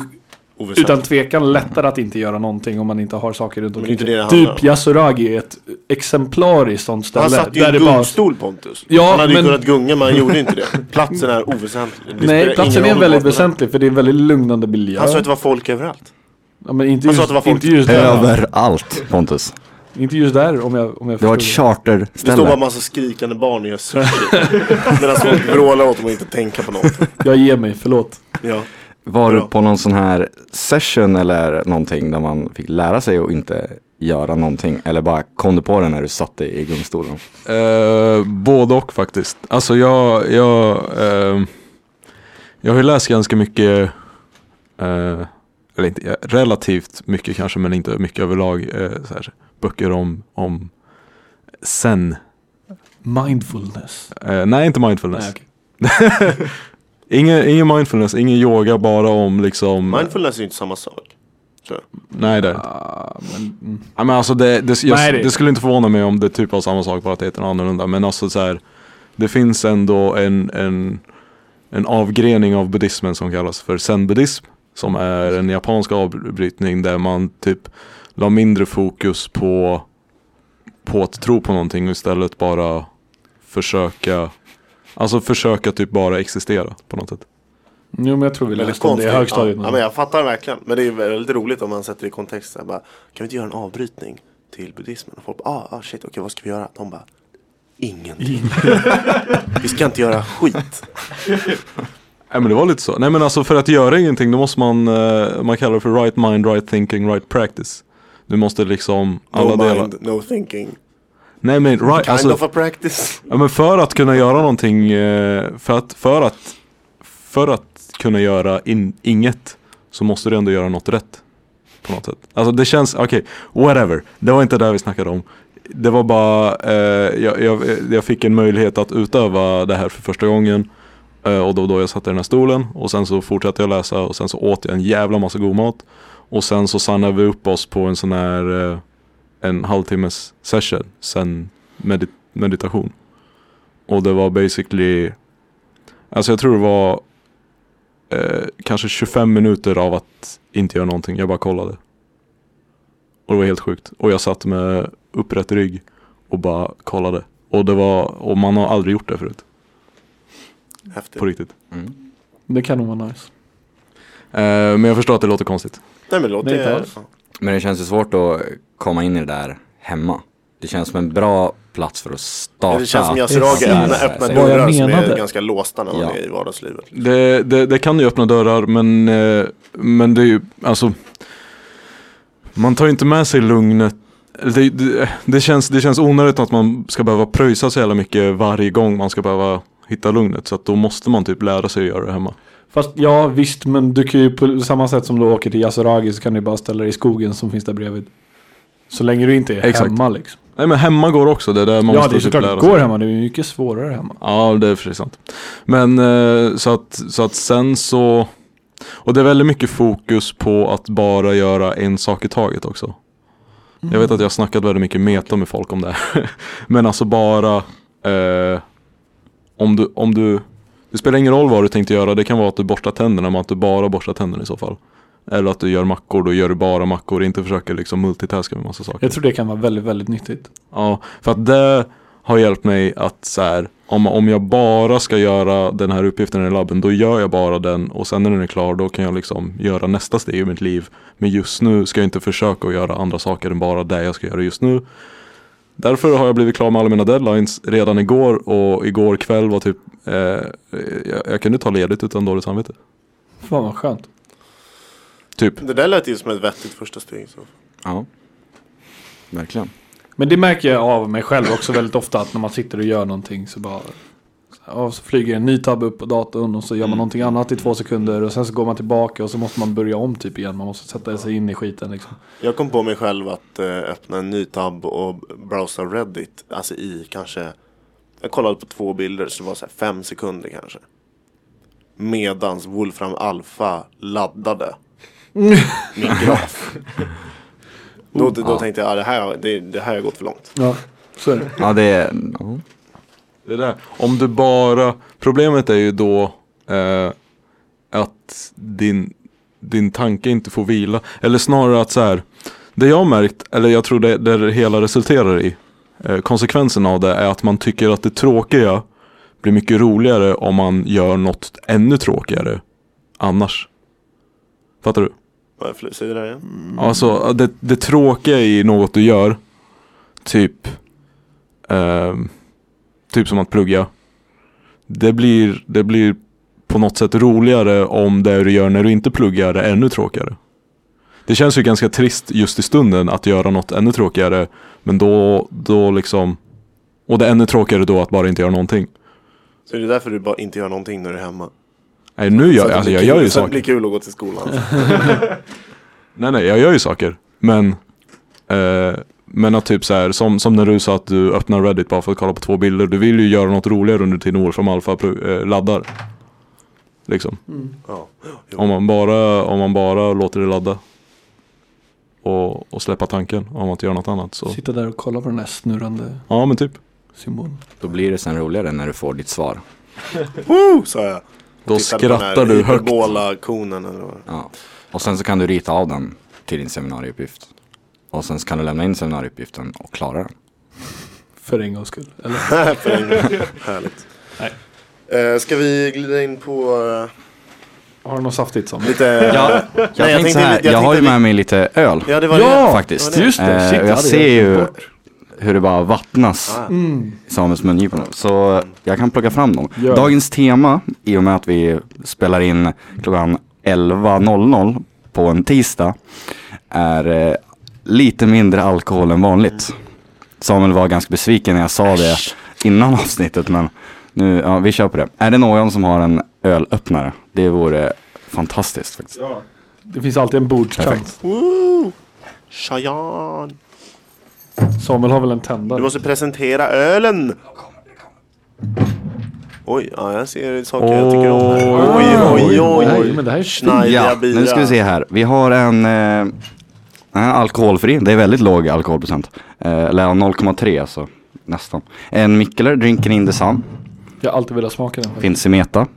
[SPEAKER 5] oväsentlig.
[SPEAKER 3] utan tvekan lättare att inte göra någonting om man inte har saker runt
[SPEAKER 5] Men
[SPEAKER 3] omkring.
[SPEAKER 5] det är inte det det handlar
[SPEAKER 3] typ
[SPEAKER 5] om.
[SPEAKER 3] Yasuragi är ett exemplariskt sånt ställe.
[SPEAKER 5] Han satt ju i en
[SPEAKER 3] det bara-
[SPEAKER 5] gungstol Pontus.
[SPEAKER 3] Ja,
[SPEAKER 5] han hade
[SPEAKER 3] men-
[SPEAKER 5] ju kunnat gunga men han gjorde inte det. Platsen är oväsentlig. Det spelar
[SPEAKER 3] Nej, platsen
[SPEAKER 5] ingen
[SPEAKER 3] är
[SPEAKER 5] roll vart
[SPEAKER 3] väldigt
[SPEAKER 5] den är.
[SPEAKER 3] väsentlig för det är en väldigt lugnande miljö.
[SPEAKER 5] Han sa att det var folk överallt.
[SPEAKER 3] Ja, men inte
[SPEAKER 5] Han
[SPEAKER 3] just,
[SPEAKER 5] sa Alltså att det var folk
[SPEAKER 3] inte just där.
[SPEAKER 2] Överallt Pontus.
[SPEAKER 3] Inte just där om jag, om jag
[SPEAKER 2] Det var ett
[SPEAKER 3] förstod
[SPEAKER 5] Det står bara
[SPEAKER 2] charterställe.
[SPEAKER 5] massa skrikande barn och gör sushi. [LAUGHS] Medan folk vrålar åt dem och inte tänka på något.
[SPEAKER 3] det. Jag ger mig, förlåt.
[SPEAKER 5] Ja.
[SPEAKER 2] Var du
[SPEAKER 5] Bra.
[SPEAKER 2] på någon sån här session eller någonting där man fick lära sig att inte göra någonting? Eller bara kom du på det när du satt dig i gungstolen?
[SPEAKER 4] Eh, både och faktiskt. Alltså jag, jag, eh, jag har ju läst ganska mycket, eh, eller inte, ja, relativt mycket kanske men inte mycket överlag, eh, så här, böcker om, om sen.
[SPEAKER 3] Mindfulness.
[SPEAKER 4] Eh, nej, inte mindfulness.
[SPEAKER 3] Nej, okej.
[SPEAKER 4] ingen, ingen mindfulness, ingen yoga, bara om liksom...
[SPEAKER 5] Mindfulness är ju inte samma sak.
[SPEAKER 4] nej, det är det inte.
[SPEAKER 3] Ah, men, mm.
[SPEAKER 4] Ja, men alltså det, det, jag,
[SPEAKER 3] Nej, det-
[SPEAKER 4] det... skulle inte förvåna mig om det typ var samma sak bara att det heter något annorlunda. Men alltså så här, det finns ändå en, en, en avgrening av buddhismen som kallas för zen-buddhism. Som är en japansk avbrytning där man typ la mindre fokus på, på att tro på någonting och istället bara försöka Alltså försöka typ bara existera på något sätt.
[SPEAKER 3] Jo, men jag tror vi
[SPEAKER 5] Väldigt
[SPEAKER 3] läste om det i
[SPEAKER 5] konstigt.
[SPEAKER 3] högstadiet.
[SPEAKER 5] Ja, ja, men jag fattar verkligen. Men det är väldigt roligt om man sätter det i kontext. Så här, bara, kan vi inte göra en avbrytning? till buddhismen. Och folk bara, ah, ah shit, okej vad ska vi göra? De bara,
[SPEAKER 3] [LAUGHS]
[SPEAKER 5] ingenting. vi ska inte göra skit.
[SPEAKER 4] Nej men det var lite så. Nej men alltså för att göra ingenting då måste man, eh, man kallar det för right mind, right thinking, right practice. Du måste liksom alla
[SPEAKER 5] No
[SPEAKER 4] delar.
[SPEAKER 5] mind, no thinking.
[SPEAKER 4] Nej men right,
[SPEAKER 5] Kind of
[SPEAKER 4] alltså,
[SPEAKER 5] a practice.
[SPEAKER 4] ja, men för att kunna göra någonting, eh, för att, för att, för att kunna göra in, inget så måste du ändå göra något rätt. På något sätt. Alltså det känns, okej, whatever. Det var inte det vi snackade om. Det var bara, eh, jag, jag, jag fick en möjlighet att utöva det här för första gången. Eh, och då och då jag satt i den här stolen och sen så fortsatte jag läsa och sen så åt jag en jävla massa god mat. Och sen så sannade vi upp oss på en sån här eh, en halvtimmes session sen medit- meditation. Och det var basically, alltså jag tror det var eh, kanske 25 minuter av att inte göra någonting. Jag bara kollade. Och det var helt sjukt. Och jag satt med upprätt rygg och bara kollade. Och det var, och man har aldrig gjort det förut.
[SPEAKER 5] Häftigt.
[SPEAKER 4] På riktigt.
[SPEAKER 5] Mm.
[SPEAKER 3] Det kan nog vara nice.
[SPEAKER 4] Eh, men jag förstår att det låter konstigt.
[SPEAKER 5] Nej men låt
[SPEAKER 3] Nej, inte
[SPEAKER 5] det.
[SPEAKER 3] alls.
[SPEAKER 2] Men det känns ju svårt att komma in i det där hemma. Det känns som en bra plats för att starta.
[SPEAKER 5] Det känns som
[SPEAKER 3] Starta.
[SPEAKER 5] Yasuragi öppnar
[SPEAKER 2] Precis.
[SPEAKER 5] öppna
[SPEAKER 2] Vad
[SPEAKER 3] jag
[SPEAKER 5] dörrar som är
[SPEAKER 3] menade.
[SPEAKER 5] ganska låsta när man
[SPEAKER 2] Ja.
[SPEAKER 5] är i vardagslivet.
[SPEAKER 4] Det, det, det kan ju öppna dörrar men, eh, men det är ju, alltså Man tar ju inte med sig lugnet det, det, det, känns, det känns onödigt att man ska behöva pröjsa så jävla mycket varje gång man ska behöva hitta lugnet. Så att då måste man typ lära sig att göra det hemma.
[SPEAKER 3] Fast ja, visst, men du kan ju på samma sätt som du åker till Yasuragi så kan du bara ställa dig i skogen som finns där bredvid. Så länge du inte är
[SPEAKER 4] Exakt.
[SPEAKER 3] hemma liksom.
[SPEAKER 4] Nej men hemma går också, det är där man
[SPEAKER 3] ja,
[SPEAKER 4] måste
[SPEAKER 3] det är
[SPEAKER 4] typ
[SPEAKER 3] såklart
[SPEAKER 4] lära
[SPEAKER 3] det
[SPEAKER 4] sig.
[SPEAKER 3] går hemma. Det är ju mycket svårare hemma.
[SPEAKER 4] Ja, det är för sig sant. Men eh, så att, så att sen så... Och det är väldigt mycket fokus på att bara göra en sak i taget också. Jag vet att jag har snackat väldigt mycket meta med folk om det här. [LAUGHS] Men alltså bara... Eh, om du... Om du det spelar ingen roll vad du tänkte göra. Det kan vara att du borstar tänderna, men att du bara borstar tänderna i så fall. Eller att du gör mackor, då gör du bara mackor. Inte försöker liksom multitaska med massa saker.
[SPEAKER 3] Jag tror det kan vara väldigt, väldigt nyttigt.
[SPEAKER 4] Ja, för att det har hjälpt mig att så här, om, om jag bara ska göra den här uppgiften i labben, då gör jag bara den och sen när den är klar, då kan jag liksom göra nästa steg i mitt liv. Men just nu ska jag inte försöka att göra andra saker än bara det jag ska göra just nu. Därför har jag blivit klar med alla mina deadlines redan igår och igår kväll var typ, eh, jag, jag kunde ta ledigt utan dåligt samvete.
[SPEAKER 3] Fan vad skönt.
[SPEAKER 4] Typ.
[SPEAKER 5] Det där lät ju som ett vettigt första steg. Så.
[SPEAKER 2] Ja. Verkligen.
[SPEAKER 3] Men det märker jag av mig själv också väldigt ofta att när man sitter och gör någonting så bara ja, så flyger en ny tab upp på datorn och så gör man någonting annat i två sekunder och sen så går man tillbaka och så måste man börja om typ igen. Man måste sätta sig in i skiten liksom.
[SPEAKER 5] Jag kom på mig själv att eh, öppna en ny tab och browsa Reddit. Alltså i kanske, jag kollade på två bilder så det var så här fem sekunder kanske. Medans Wolfram Alpha laddade min graf. Då, då
[SPEAKER 2] Ja.
[SPEAKER 5] tänkte jag, ah, det, här, har- det, det här har gått för långt.
[SPEAKER 3] Ja, så är det.
[SPEAKER 2] Ja, det är... ja.
[SPEAKER 4] Det där. Om du bara, problemet är ju då eh, att din, din tanke inte får vila. Eller snarare att så här, det jag har märkt, eller jag tror det, det hela resulterar i, eh, konsekvensen av det är att man tycker att det tråkiga blir mycket roligare om man gör något ännu tråkigare annars. Fattar du?
[SPEAKER 5] Vad är fl- Säg det där igen.
[SPEAKER 4] Alltså det, det tråkiga i något du gör, typ, ehm, typ som att plugga. Det blir, det blir på något sätt roligare om det du gör när du inte pluggar är ännu tråkigare. Det känns ju ganska trist just i stunden att göra något ännu tråkigare. Men då, då liksom, och det är ännu tråkigare då att bara inte göra någonting.
[SPEAKER 5] Så är det därför du bara inte gör någonting när du är hemma?
[SPEAKER 4] Nej nu
[SPEAKER 5] Så att
[SPEAKER 4] gör
[SPEAKER 5] det
[SPEAKER 4] jag, alltså,
[SPEAKER 5] blir
[SPEAKER 4] jag
[SPEAKER 5] kul-
[SPEAKER 4] gör ju
[SPEAKER 5] så att Det blir
[SPEAKER 4] saker.
[SPEAKER 5] kul att gå till skolan.
[SPEAKER 4] [LAUGHS] Nej nej, jag gör ju saker. Men Eh, men att typ så här, som, som när du sa att du öppnar Reddit bara för att kolla på två bilder. Du vill ju göra något roligare under tiden Wolfram Alpha pro- eh, laddar. Liksom.
[SPEAKER 5] Ja. Jo.
[SPEAKER 4] Om, man bara, om man bara låter det ladda. Och, och släppa tanken om att göra något annat. Så.
[SPEAKER 3] Sitta där och kolla på den här snurrande
[SPEAKER 4] Ja men typ.
[SPEAKER 3] symbolen.
[SPEAKER 2] Då blir det sen roligare när du får ditt svar.
[SPEAKER 5] Woo, sa jag.
[SPEAKER 4] Då skrattar du högt.
[SPEAKER 5] konen eller vad det
[SPEAKER 2] Ja. Och sen så kan du rita av den till din seminarieuppgift. Och sen så kan du lämna in seminarieuppgiften och klara den.
[SPEAKER 3] För en gångs skull. Eller?
[SPEAKER 5] var. För
[SPEAKER 4] [LAUGHS]
[SPEAKER 5] en gång. Härligt.
[SPEAKER 3] Nej.
[SPEAKER 5] Eh, ska vi glida in på eh,
[SPEAKER 3] Har du något saftigt som?
[SPEAKER 5] Lite...
[SPEAKER 2] Ja, jag
[SPEAKER 5] jag
[SPEAKER 2] tänkte
[SPEAKER 5] tänkte
[SPEAKER 2] så här,
[SPEAKER 5] lite-
[SPEAKER 2] jag,
[SPEAKER 5] jag
[SPEAKER 2] har ju
[SPEAKER 5] tänkte
[SPEAKER 2] med mig lite öl
[SPEAKER 5] Ja, det var
[SPEAKER 3] Ja!
[SPEAKER 5] det.
[SPEAKER 2] faktiskt.
[SPEAKER 5] det var det.
[SPEAKER 3] Just det,
[SPEAKER 2] Eh,
[SPEAKER 3] shit, jag
[SPEAKER 2] och jag
[SPEAKER 3] hade
[SPEAKER 2] ser
[SPEAKER 3] helt
[SPEAKER 2] ju
[SPEAKER 3] glömt bort.
[SPEAKER 2] hur det bara vattnas
[SPEAKER 5] Ah.
[SPEAKER 4] Mm.
[SPEAKER 2] i Samuels mungipa nu. Så jag kan plocka fram dem.
[SPEAKER 3] Gör det.
[SPEAKER 2] Dagens tema, i och med att vi spelar in klockan 11.00 på en tisdag, är eh, lite mindre alkohol än vanligt. Samuel var ganska besviken när jag sa det innan [LAUGHS] avsnittet, men nu, ja, vi kör på det. Är det någon som har en ölöppnare? Det vore fantastiskt faktiskt.
[SPEAKER 3] Det finns alltid en bordskant.
[SPEAKER 2] Perfekt.
[SPEAKER 5] Woo! Shayan.
[SPEAKER 3] Samuel har väl en
[SPEAKER 5] Du
[SPEAKER 3] tändare?
[SPEAKER 5] måste presentera ölen! Oj, ja, jag ser saker jag tycker om här.
[SPEAKER 3] Ah,
[SPEAKER 5] Oj, oj,
[SPEAKER 3] Nej,
[SPEAKER 5] oj.
[SPEAKER 3] men det här är stil.
[SPEAKER 5] Nej.
[SPEAKER 2] Ja,
[SPEAKER 5] Idea Bira.
[SPEAKER 2] nu ska vi se här. Vi har en eh, en alkoholfri, det är väldigt låg alkoholprocent. Eh, eller ja, 0,3 alltså, nästan. En Mikkeler, Drinken in the Sun,
[SPEAKER 3] Jag har alltid velat smaka den.
[SPEAKER 2] finns i Meta.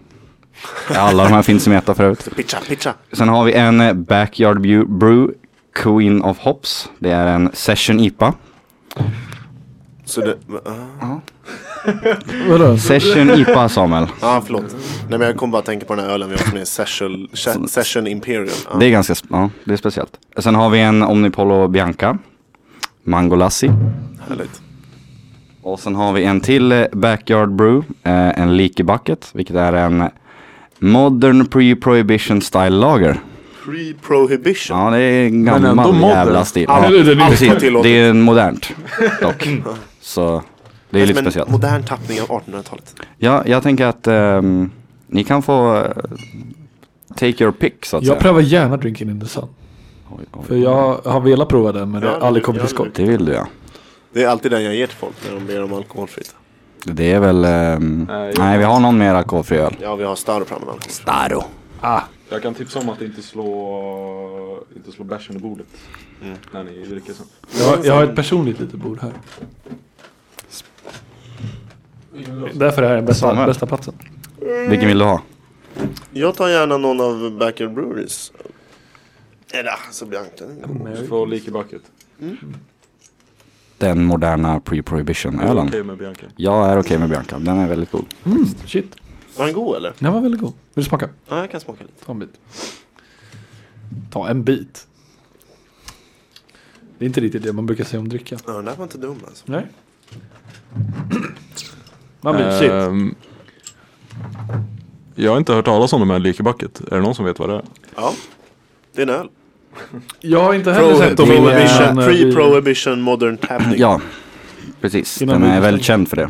[SPEAKER 2] Alla de här finns i Meta förut.
[SPEAKER 5] Pitcha, pitcha.
[SPEAKER 2] Sen har vi en eh, Backyard Bu- Brew, Queen of Hops. Det är en Session IPA.
[SPEAKER 5] Så det...
[SPEAKER 3] Vadå?
[SPEAKER 2] Session IPA Samuel,
[SPEAKER 5] Ja, ah, förlåt. Nej, men jag kom bara att tänka på den här ölen vi har som är Session, Se- session Imperial. Ja.
[SPEAKER 2] det är ganska, sp- ja, det är speciellt. Sen har vi en Omnipollo Bianca, Mango Lassi.
[SPEAKER 5] Härligt.
[SPEAKER 2] Och sen har vi en till eh, Backyard Brew, eh, en Leaky Bucket, vilket är en Modern Pre-Prohibition Style Lager.
[SPEAKER 5] Pre-prohibition.
[SPEAKER 2] Ja, det är en
[SPEAKER 3] Men ändå
[SPEAKER 2] gammal
[SPEAKER 3] modern.
[SPEAKER 2] jävla stil.
[SPEAKER 3] Ja,
[SPEAKER 2] Ja,
[SPEAKER 3] det är Mm. det.
[SPEAKER 5] Allt var
[SPEAKER 2] precis.
[SPEAKER 5] tillåtet.
[SPEAKER 2] Det är en modernt
[SPEAKER 3] [LAUGHS]
[SPEAKER 2] dock. Så det är lite
[SPEAKER 5] Som en
[SPEAKER 2] speciellt.
[SPEAKER 5] modern tappning av 1800-talet.
[SPEAKER 2] Ja, jag tänker att ehm, ni kan få eh, take your pick så att
[SPEAKER 3] Jag
[SPEAKER 2] säga.
[SPEAKER 3] prövar gärna Drinking in the Sun.
[SPEAKER 2] Oj, oj.
[SPEAKER 3] För jag har velat prova den men det
[SPEAKER 5] Ja,
[SPEAKER 3] har aldrig kommit
[SPEAKER 5] ja,
[SPEAKER 3] till skott.
[SPEAKER 2] Det vill du ja.
[SPEAKER 5] Det är alltid den jag ger till folk när de ber om alkoholfritt.
[SPEAKER 2] Det är väl, ehm,
[SPEAKER 4] Nej, jag-
[SPEAKER 2] nej vi har någon mer alkoholfri öl.
[SPEAKER 5] Ja, vi har Staro fram med alkoholfritt.
[SPEAKER 2] Daro.
[SPEAKER 4] Jag kan tipsa om att inte slå, inte slå bärs under bordet. När ni dricker sen.
[SPEAKER 3] Jag, jag har
[SPEAKER 5] Mm.
[SPEAKER 3] ett personligt litet bord här. Därför är det Mm. här den bästa,
[SPEAKER 2] Samuel.
[SPEAKER 3] bästa platsen.
[SPEAKER 2] Vilken vill du ha?
[SPEAKER 5] Jag tar gärna någon av Backyard Breweries. Eller, så blir jag
[SPEAKER 3] Mm.
[SPEAKER 4] Du får lika bucket.
[SPEAKER 2] Den moderna Pre-Prohibition-ölen.
[SPEAKER 4] Okej med Bianca.
[SPEAKER 2] Jag är okej med Bianca, den är väldigt god.
[SPEAKER 3] Mm. Shit,
[SPEAKER 5] Var den god eller?
[SPEAKER 3] den var väldigt god. Vill du smaka?
[SPEAKER 5] Ja, jag kan smaka lite.
[SPEAKER 3] Ta en bit. Ta en bit. Det är inte riktigt det man brukar säga om dricka.
[SPEAKER 5] Ja, den där var inte dum alltså.
[SPEAKER 3] Nej. [CLEARS THROAT] Man blir shit.
[SPEAKER 4] Ehm, jag har inte hört talas om de här Leaky Bucket. Är det någon som vet vad det är?
[SPEAKER 5] Ja, det är en öl.
[SPEAKER 3] Jag har inte heller sett dem
[SPEAKER 5] Prohibition,
[SPEAKER 3] innan, eh, vi-
[SPEAKER 5] pre-prohibition modern tappning.
[SPEAKER 2] Ja, precis.
[SPEAKER 3] Innan
[SPEAKER 2] Den
[SPEAKER 3] vi
[SPEAKER 2] är väldigt
[SPEAKER 3] bestämmer.
[SPEAKER 2] känd för det.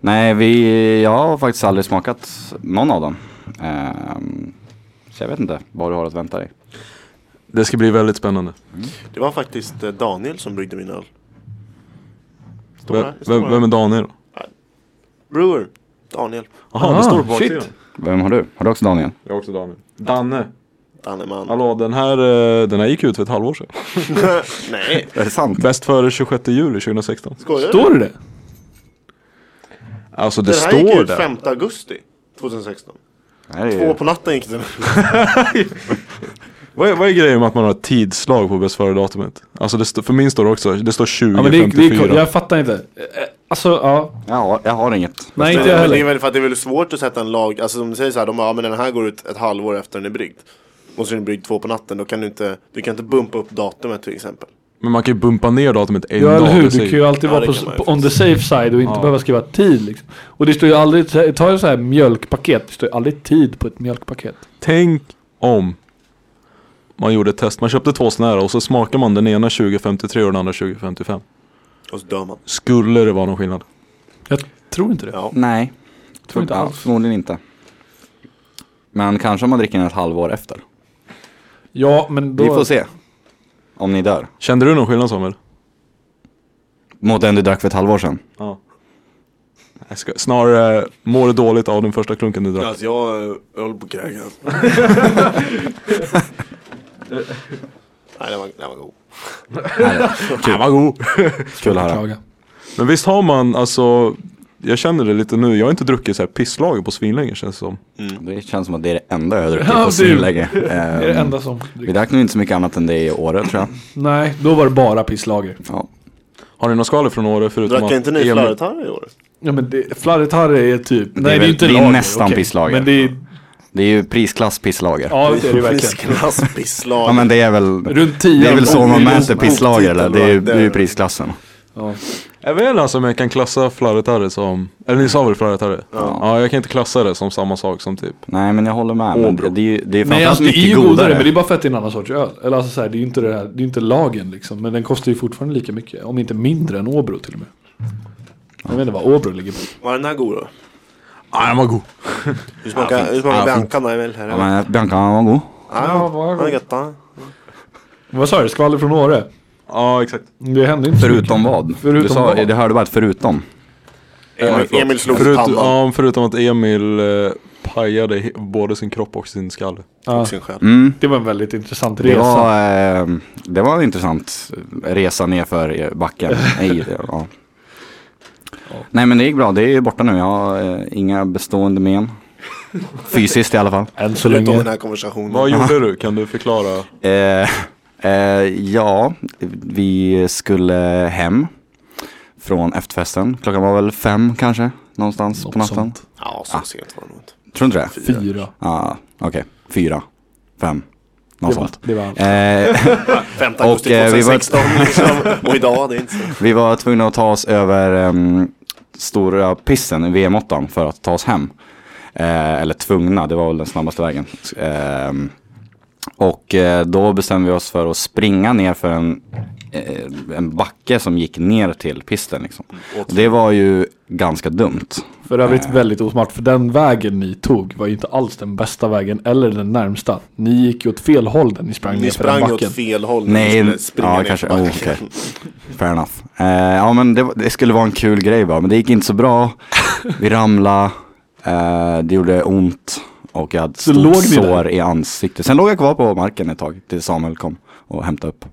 [SPEAKER 2] Nej, vi, jag har faktiskt aldrig smakat någon av dem. Ehm, så jag vet inte vad du har att vänta dig.
[SPEAKER 4] Det ska bli väldigt spännande.
[SPEAKER 5] Det var faktiskt eh, Daniel som bryggde min öl. Står
[SPEAKER 4] Vem,
[SPEAKER 5] här, står
[SPEAKER 4] vem,
[SPEAKER 5] här.
[SPEAKER 4] vem är Daniel då?
[SPEAKER 5] Brewer. Daniel.
[SPEAKER 4] Jaha,
[SPEAKER 3] Ah,
[SPEAKER 4] det står på baksidan.
[SPEAKER 3] shit.
[SPEAKER 2] Vem har du? Har du också Daniel?
[SPEAKER 4] Jag är också Daniel. Danne.
[SPEAKER 5] Danneman.
[SPEAKER 4] Hallå, den här, eh, den här gick ut för ett halvår sedan.
[SPEAKER 5] Nej,
[SPEAKER 2] Är det sant?
[SPEAKER 4] [LAUGHS] Bäst före 26 juli 2016.
[SPEAKER 5] skojar du?
[SPEAKER 3] Står det det?
[SPEAKER 4] Alltså det
[SPEAKER 5] Den här gick
[SPEAKER 4] står
[SPEAKER 5] ut
[SPEAKER 4] där.
[SPEAKER 5] 5 augusti 2016.
[SPEAKER 2] Nej, det är
[SPEAKER 5] Två
[SPEAKER 2] ju...
[SPEAKER 5] på natten gick den.
[SPEAKER 4] Vad är, vad är grejen med att man har ett tidslag på bäst före datumet? Alltså det stå, för min står det också, det står 20.54.
[SPEAKER 3] Ja, men det, det, jag fattar inte. Eh, eh, Alltså, ja.
[SPEAKER 2] jag, har, jag har inget.
[SPEAKER 3] Nej,
[SPEAKER 5] Men
[SPEAKER 3] inte jag
[SPEAKER 5] det, det är
[SPEAKER 3] heller.
[SPEAKER 5] väl för att det är väl svårt att sätta en lag, alltså som du säger så här, de bara, ja men den här går ut ett halvår efter den är bryggd. Och så är den bryggd två på natten, då kan du inte, du kan inte bumpa upp datumet till exempel.
[SPEAKER 4] Men man kan ju bumpa ner datumet en
[SPEAKER 3] Ja,
[SPEAKER 4] dag.
[SPEAKER 3] eller hur?
[SPEAKER 4] det
[SPEAKER 3] Du
[SPEAKER 4] säger-
[SPEAKER 3] kan ju alltid
[SPEAKER 5] Ja,
[SPEAKER 3] vara
[SPEAKER 5] det
[SPEAKER 3] på,
[SPEAKER 5] kan man ju
[SPEAKER 3] på on the safe side och inte behöva skriva tid liksom. Och det står ju aldrig, ta en sån här mjölkpaket, det står ju aldrig tid på ett mjölkpaket.
[SPEAKER 4] Tänk om man gjorde ett test, man köpte två sådana här och så smakar man den ena 2053 och den andra 2055.
[SPEAKER 5] Och så dör man.
[SPEAKER 4] Skulle det vara någon skillnad?
[SPEAKER 3] Jag tror inte det.
[SPEAKER 5] Ja.
[SPEAKER 2] Nej.
[SPEAKER 3] Tror inte
[SPEAKER 2] Ja,
[SPEAKER 3] alls.
[SPEAKER 2] Förmodligen inte. Men kanske om man dricker den ett halvår efter.
[SPEAKER 3] Ja, men då...
[SPEAKER 2] Vi får se. Om ni dör.
[SPEAKER 4] Kände du någon skillnad Samuel?
[SPEAKER 2] Mot den du drack för ett halvår sedan.
[SPEAKER 4] Ja. Jag ska, snarare mår du dåligt av den första klunken du drack.
[SPEAKER 5] Alltså jag eh, jag håller på att kräkas. [LAUGHS] Nej den var, den var god.
[SPEAKER 4] Den var god.
[SPEAKER 2] Kul att höra.
[SPEAKER 3] Klaga.
[SPEAKER 4] Men visst har man alltså, jag känner det lite nu, jag har inte druckit så här pisslager på svinlänge känns det som.
[SPEAKER 2] Det känns som att det är det enda jag har druckit
[SPEAKER 3] Mm. [LAUGHS] Ja,
[SPEAKER 2] på
[SPEAKER 3] du.
[SPEAKER 2] svinlänge.
[SPEAKER 3] Det är det enda som...
[SPEAKER 2] Vi drack nog inte så mycket annat än det i året
[SPEAKER 3] [LAUGHS]
[SPEAKER 2] tror jag.
[SPEAKER 3] Nej, då var det bara pisslager.
[SPEAKER 2] Ja.
[SPEAKER 4] Har ni några skvaller från Åre förutom
[SPEAKER 5] Drack inte ni
[SPEAKER 4] Emil-
[SPEAKER 5] flöretarr i år?
[SPEAKER 3] Ja men det, flarret här är typ... Nej det är,
[SPEAKER 2] väl-
[SPEAKER 3] inte
[SPEAKER 2] det är
[SPEAKER 3] lager,
[SPEAKER 2] nästan
[SPEAKER 3] okej.
[SPEAKER 2] pisslager.
[SPEAKER 3] Men det är
[SPEAKER 2] Det är ju prisklass pisslager. Ja.
[SPEAKER 3] Ja,
[SPEAKER 2] [LAUGHS]
[SPEAKER 3] det är det ju verkligen.
[SPEAKER 5] Prisklass, pisslag.
[SPEAKER 2] men det är väl,
[SPEAKER 3] Runt
[SPEAKER 2] det
[SPEAKER 3] 10
[SPEAKER 2] är väl så man mäter
[SPEAKER 5] otiteln,
[SPEAKER 2] pisslager eller? Det är ju- det är ju
[SPEAKER 5] där.
[SPEAKER 2] prisklassen.
[SPEAKER 3] Ja.
[SPEAKER 4] Jag vet inte alltså om jag kan klassa flarretarre som, eller ni sa väl flarretarre? Ja. ja. jag kan inte klassa det som samma sak som typ
[SPEAKER 2] Nej men jag håller med. Men
[SPEAKER 4] Åbro.
[SPEAKER 2] det, är ju, det är
[SPEAKER 3] Nej,
[SPEAKER 2] framförallt
[SPEAKER 3] alltså, det är
[SPEAKER 2] mycket
[SPEAKER 3] ju
[SPEAKER 2] godare.
[SPEAKER 3] godare, men det är bara för att det är en annan sorts öl. Eller alltså, så här, det är ju inte, det här, det är inte lagen liksom. Men den kostar ju fortfarande lika mycket. Om inte mindre än Åbro till och med. Jag vet inte vad Åbro ligger på.
[SPEAKER 5] Var den här god då?
[SPEAKER 4] Nej den var god
[SPEAKER 5] Hur smakar, hur
[SPEAKER 2] Ja, fint.
[SPEAKER 5] smakar Bianca då? är väl här?
[SPEAKER 2] Ja, men Bianca var god.
[SPEAKER 5] Ja,
[SPEAKER 3] vad-
[SPEAKER 5] vad gött då.
[SPEAKER 3] Vad sa du? Skvaller från Åre?
[SPEAKER 4] Ja exakt
[SPEAKER 3] Det hände inte så mycket.
[SPEAKER 2] Förutom vad?
[SPEAKER 3] Förutom
[SPEAKER 2] du sa,
[SPEAKER 3] vad?
[SPEAKER 2] Det hörde bara ett förutom.
[SPEAKER 5] Emil, Emil slog
[SPEAKER 4] Eh, Förut,
[SPEAKER 5] pannan.
[SPEAKER 4] ja, förutom att Emil eh, pajade he- både sin kropp och sin skalle
[SPEAKER 3] Ja,
[SPEAKER 5] Sin själ.
[SPEAKER 2] Mm.
[SPEAKER 3] det var en väldigt intressant
[SPEAKER 2] Det
[SPEAKER 3] resa.
[SPEAKER 2] var, eh, det var en intressant resa nerför
[SPEAKER 3] [LAUGHS]
[SPEAKER 2] backen. Nej, det- ja. Nej men det gick bra, det är ju borta nu. Jag har eh, inga bestående men. Fysiskt i alla
[SPEAKER 3] [LAUGHS]
[SPEAKER 2] fall.
[SPEAKER 3] Än så
[SPEAKER 5] Förutom den
[SPEAKER 3] länge.
[SPEAKER 5] här konversationen.
[SPEAKER 4] Vad gjorde du? Kan du förklara?
[SPEAKER 2] Eh, eh, ja, vi skulle hem från efterfesten. Klockan var väl fem kanske, någonstans på
[SPEAKER 3] Något
[SPEAKER 2] natten.
[SPEAKER 3] sånt.
[SPEAKER 5] Ja, så
[SPEAKER 2] Ah.
[SPEAKER 5] sent var det nog inte.
[SPEAKER 2] Tror du inte det?
[SPEAKER 3] Fyra.
[SPEAKER 2] Ja, okej. Fyra, fem, något
[SPEAKER 3] Det var,
[SPEAKER 2] sånt.
[SPEAKER 3] det var allt.
[SPEAKER 2] Eh,
[SPEAKER 5] 5
[SPEAKER 2] Och,
[SPEAKER 5] augusti
[SPEAKER 2] eh, vi var-
[SPEAKER 5] 2016
[SPEAKER 2] [LAUGHS]
[SPEAKER 5] liksom. Och idag, det är inte så.
[SPEAKER 2] Vi var tvungna att ta oss över em, stora pissen i VM-åttan för att ta oss hem. Eh, eller tvungna, det var väl den snabbaste vägen. Ehm, och eh, då bestämde vi oss för att springa ner för en, eh, en backe som gick ner till pisten. Liksom. Och det var ju ganska dumt.
[SPEAKER 3] För
[SPEAKER 2] Eh.
[SPEAKER 3] övrigt väldigt osmart, för den vägen ni tog var ju inte alls den bästa vägen eller den närmsta. Ni gick ju åt fel håll där ni sprang ner
[SPEAKER 5] Ni
[SPEAKER 3] för den
[SPEAKER 5] sprang
[SPEAKER 3] backen.
[SPEAKER 5] åt fel håll.
[SPEAKER 2] Nej,
[SPEAKER 5] Ni skulle springa
[SPEAKER 2] ja,
[SPEAKER 5] ner
[SPEAKER 2] kanske.
[SPEAKER 5] för backen.
[SPEAKER 2] Oh, okej. Fair enough. Eh, ja men det, var- det skulle vara en kul grej bara, men det gick inte så bra. Vi ramlade, eh, det gjorde ont och jag hade
[SPEAKER 3] Så
[SPEAKER 2] stort
[SPEAKER 3] låg ni där?
[SPEAKER 2] sår i ansiktet. Sen låg jag kvar på marken ett tag tills Samuel kom och hämtade upp.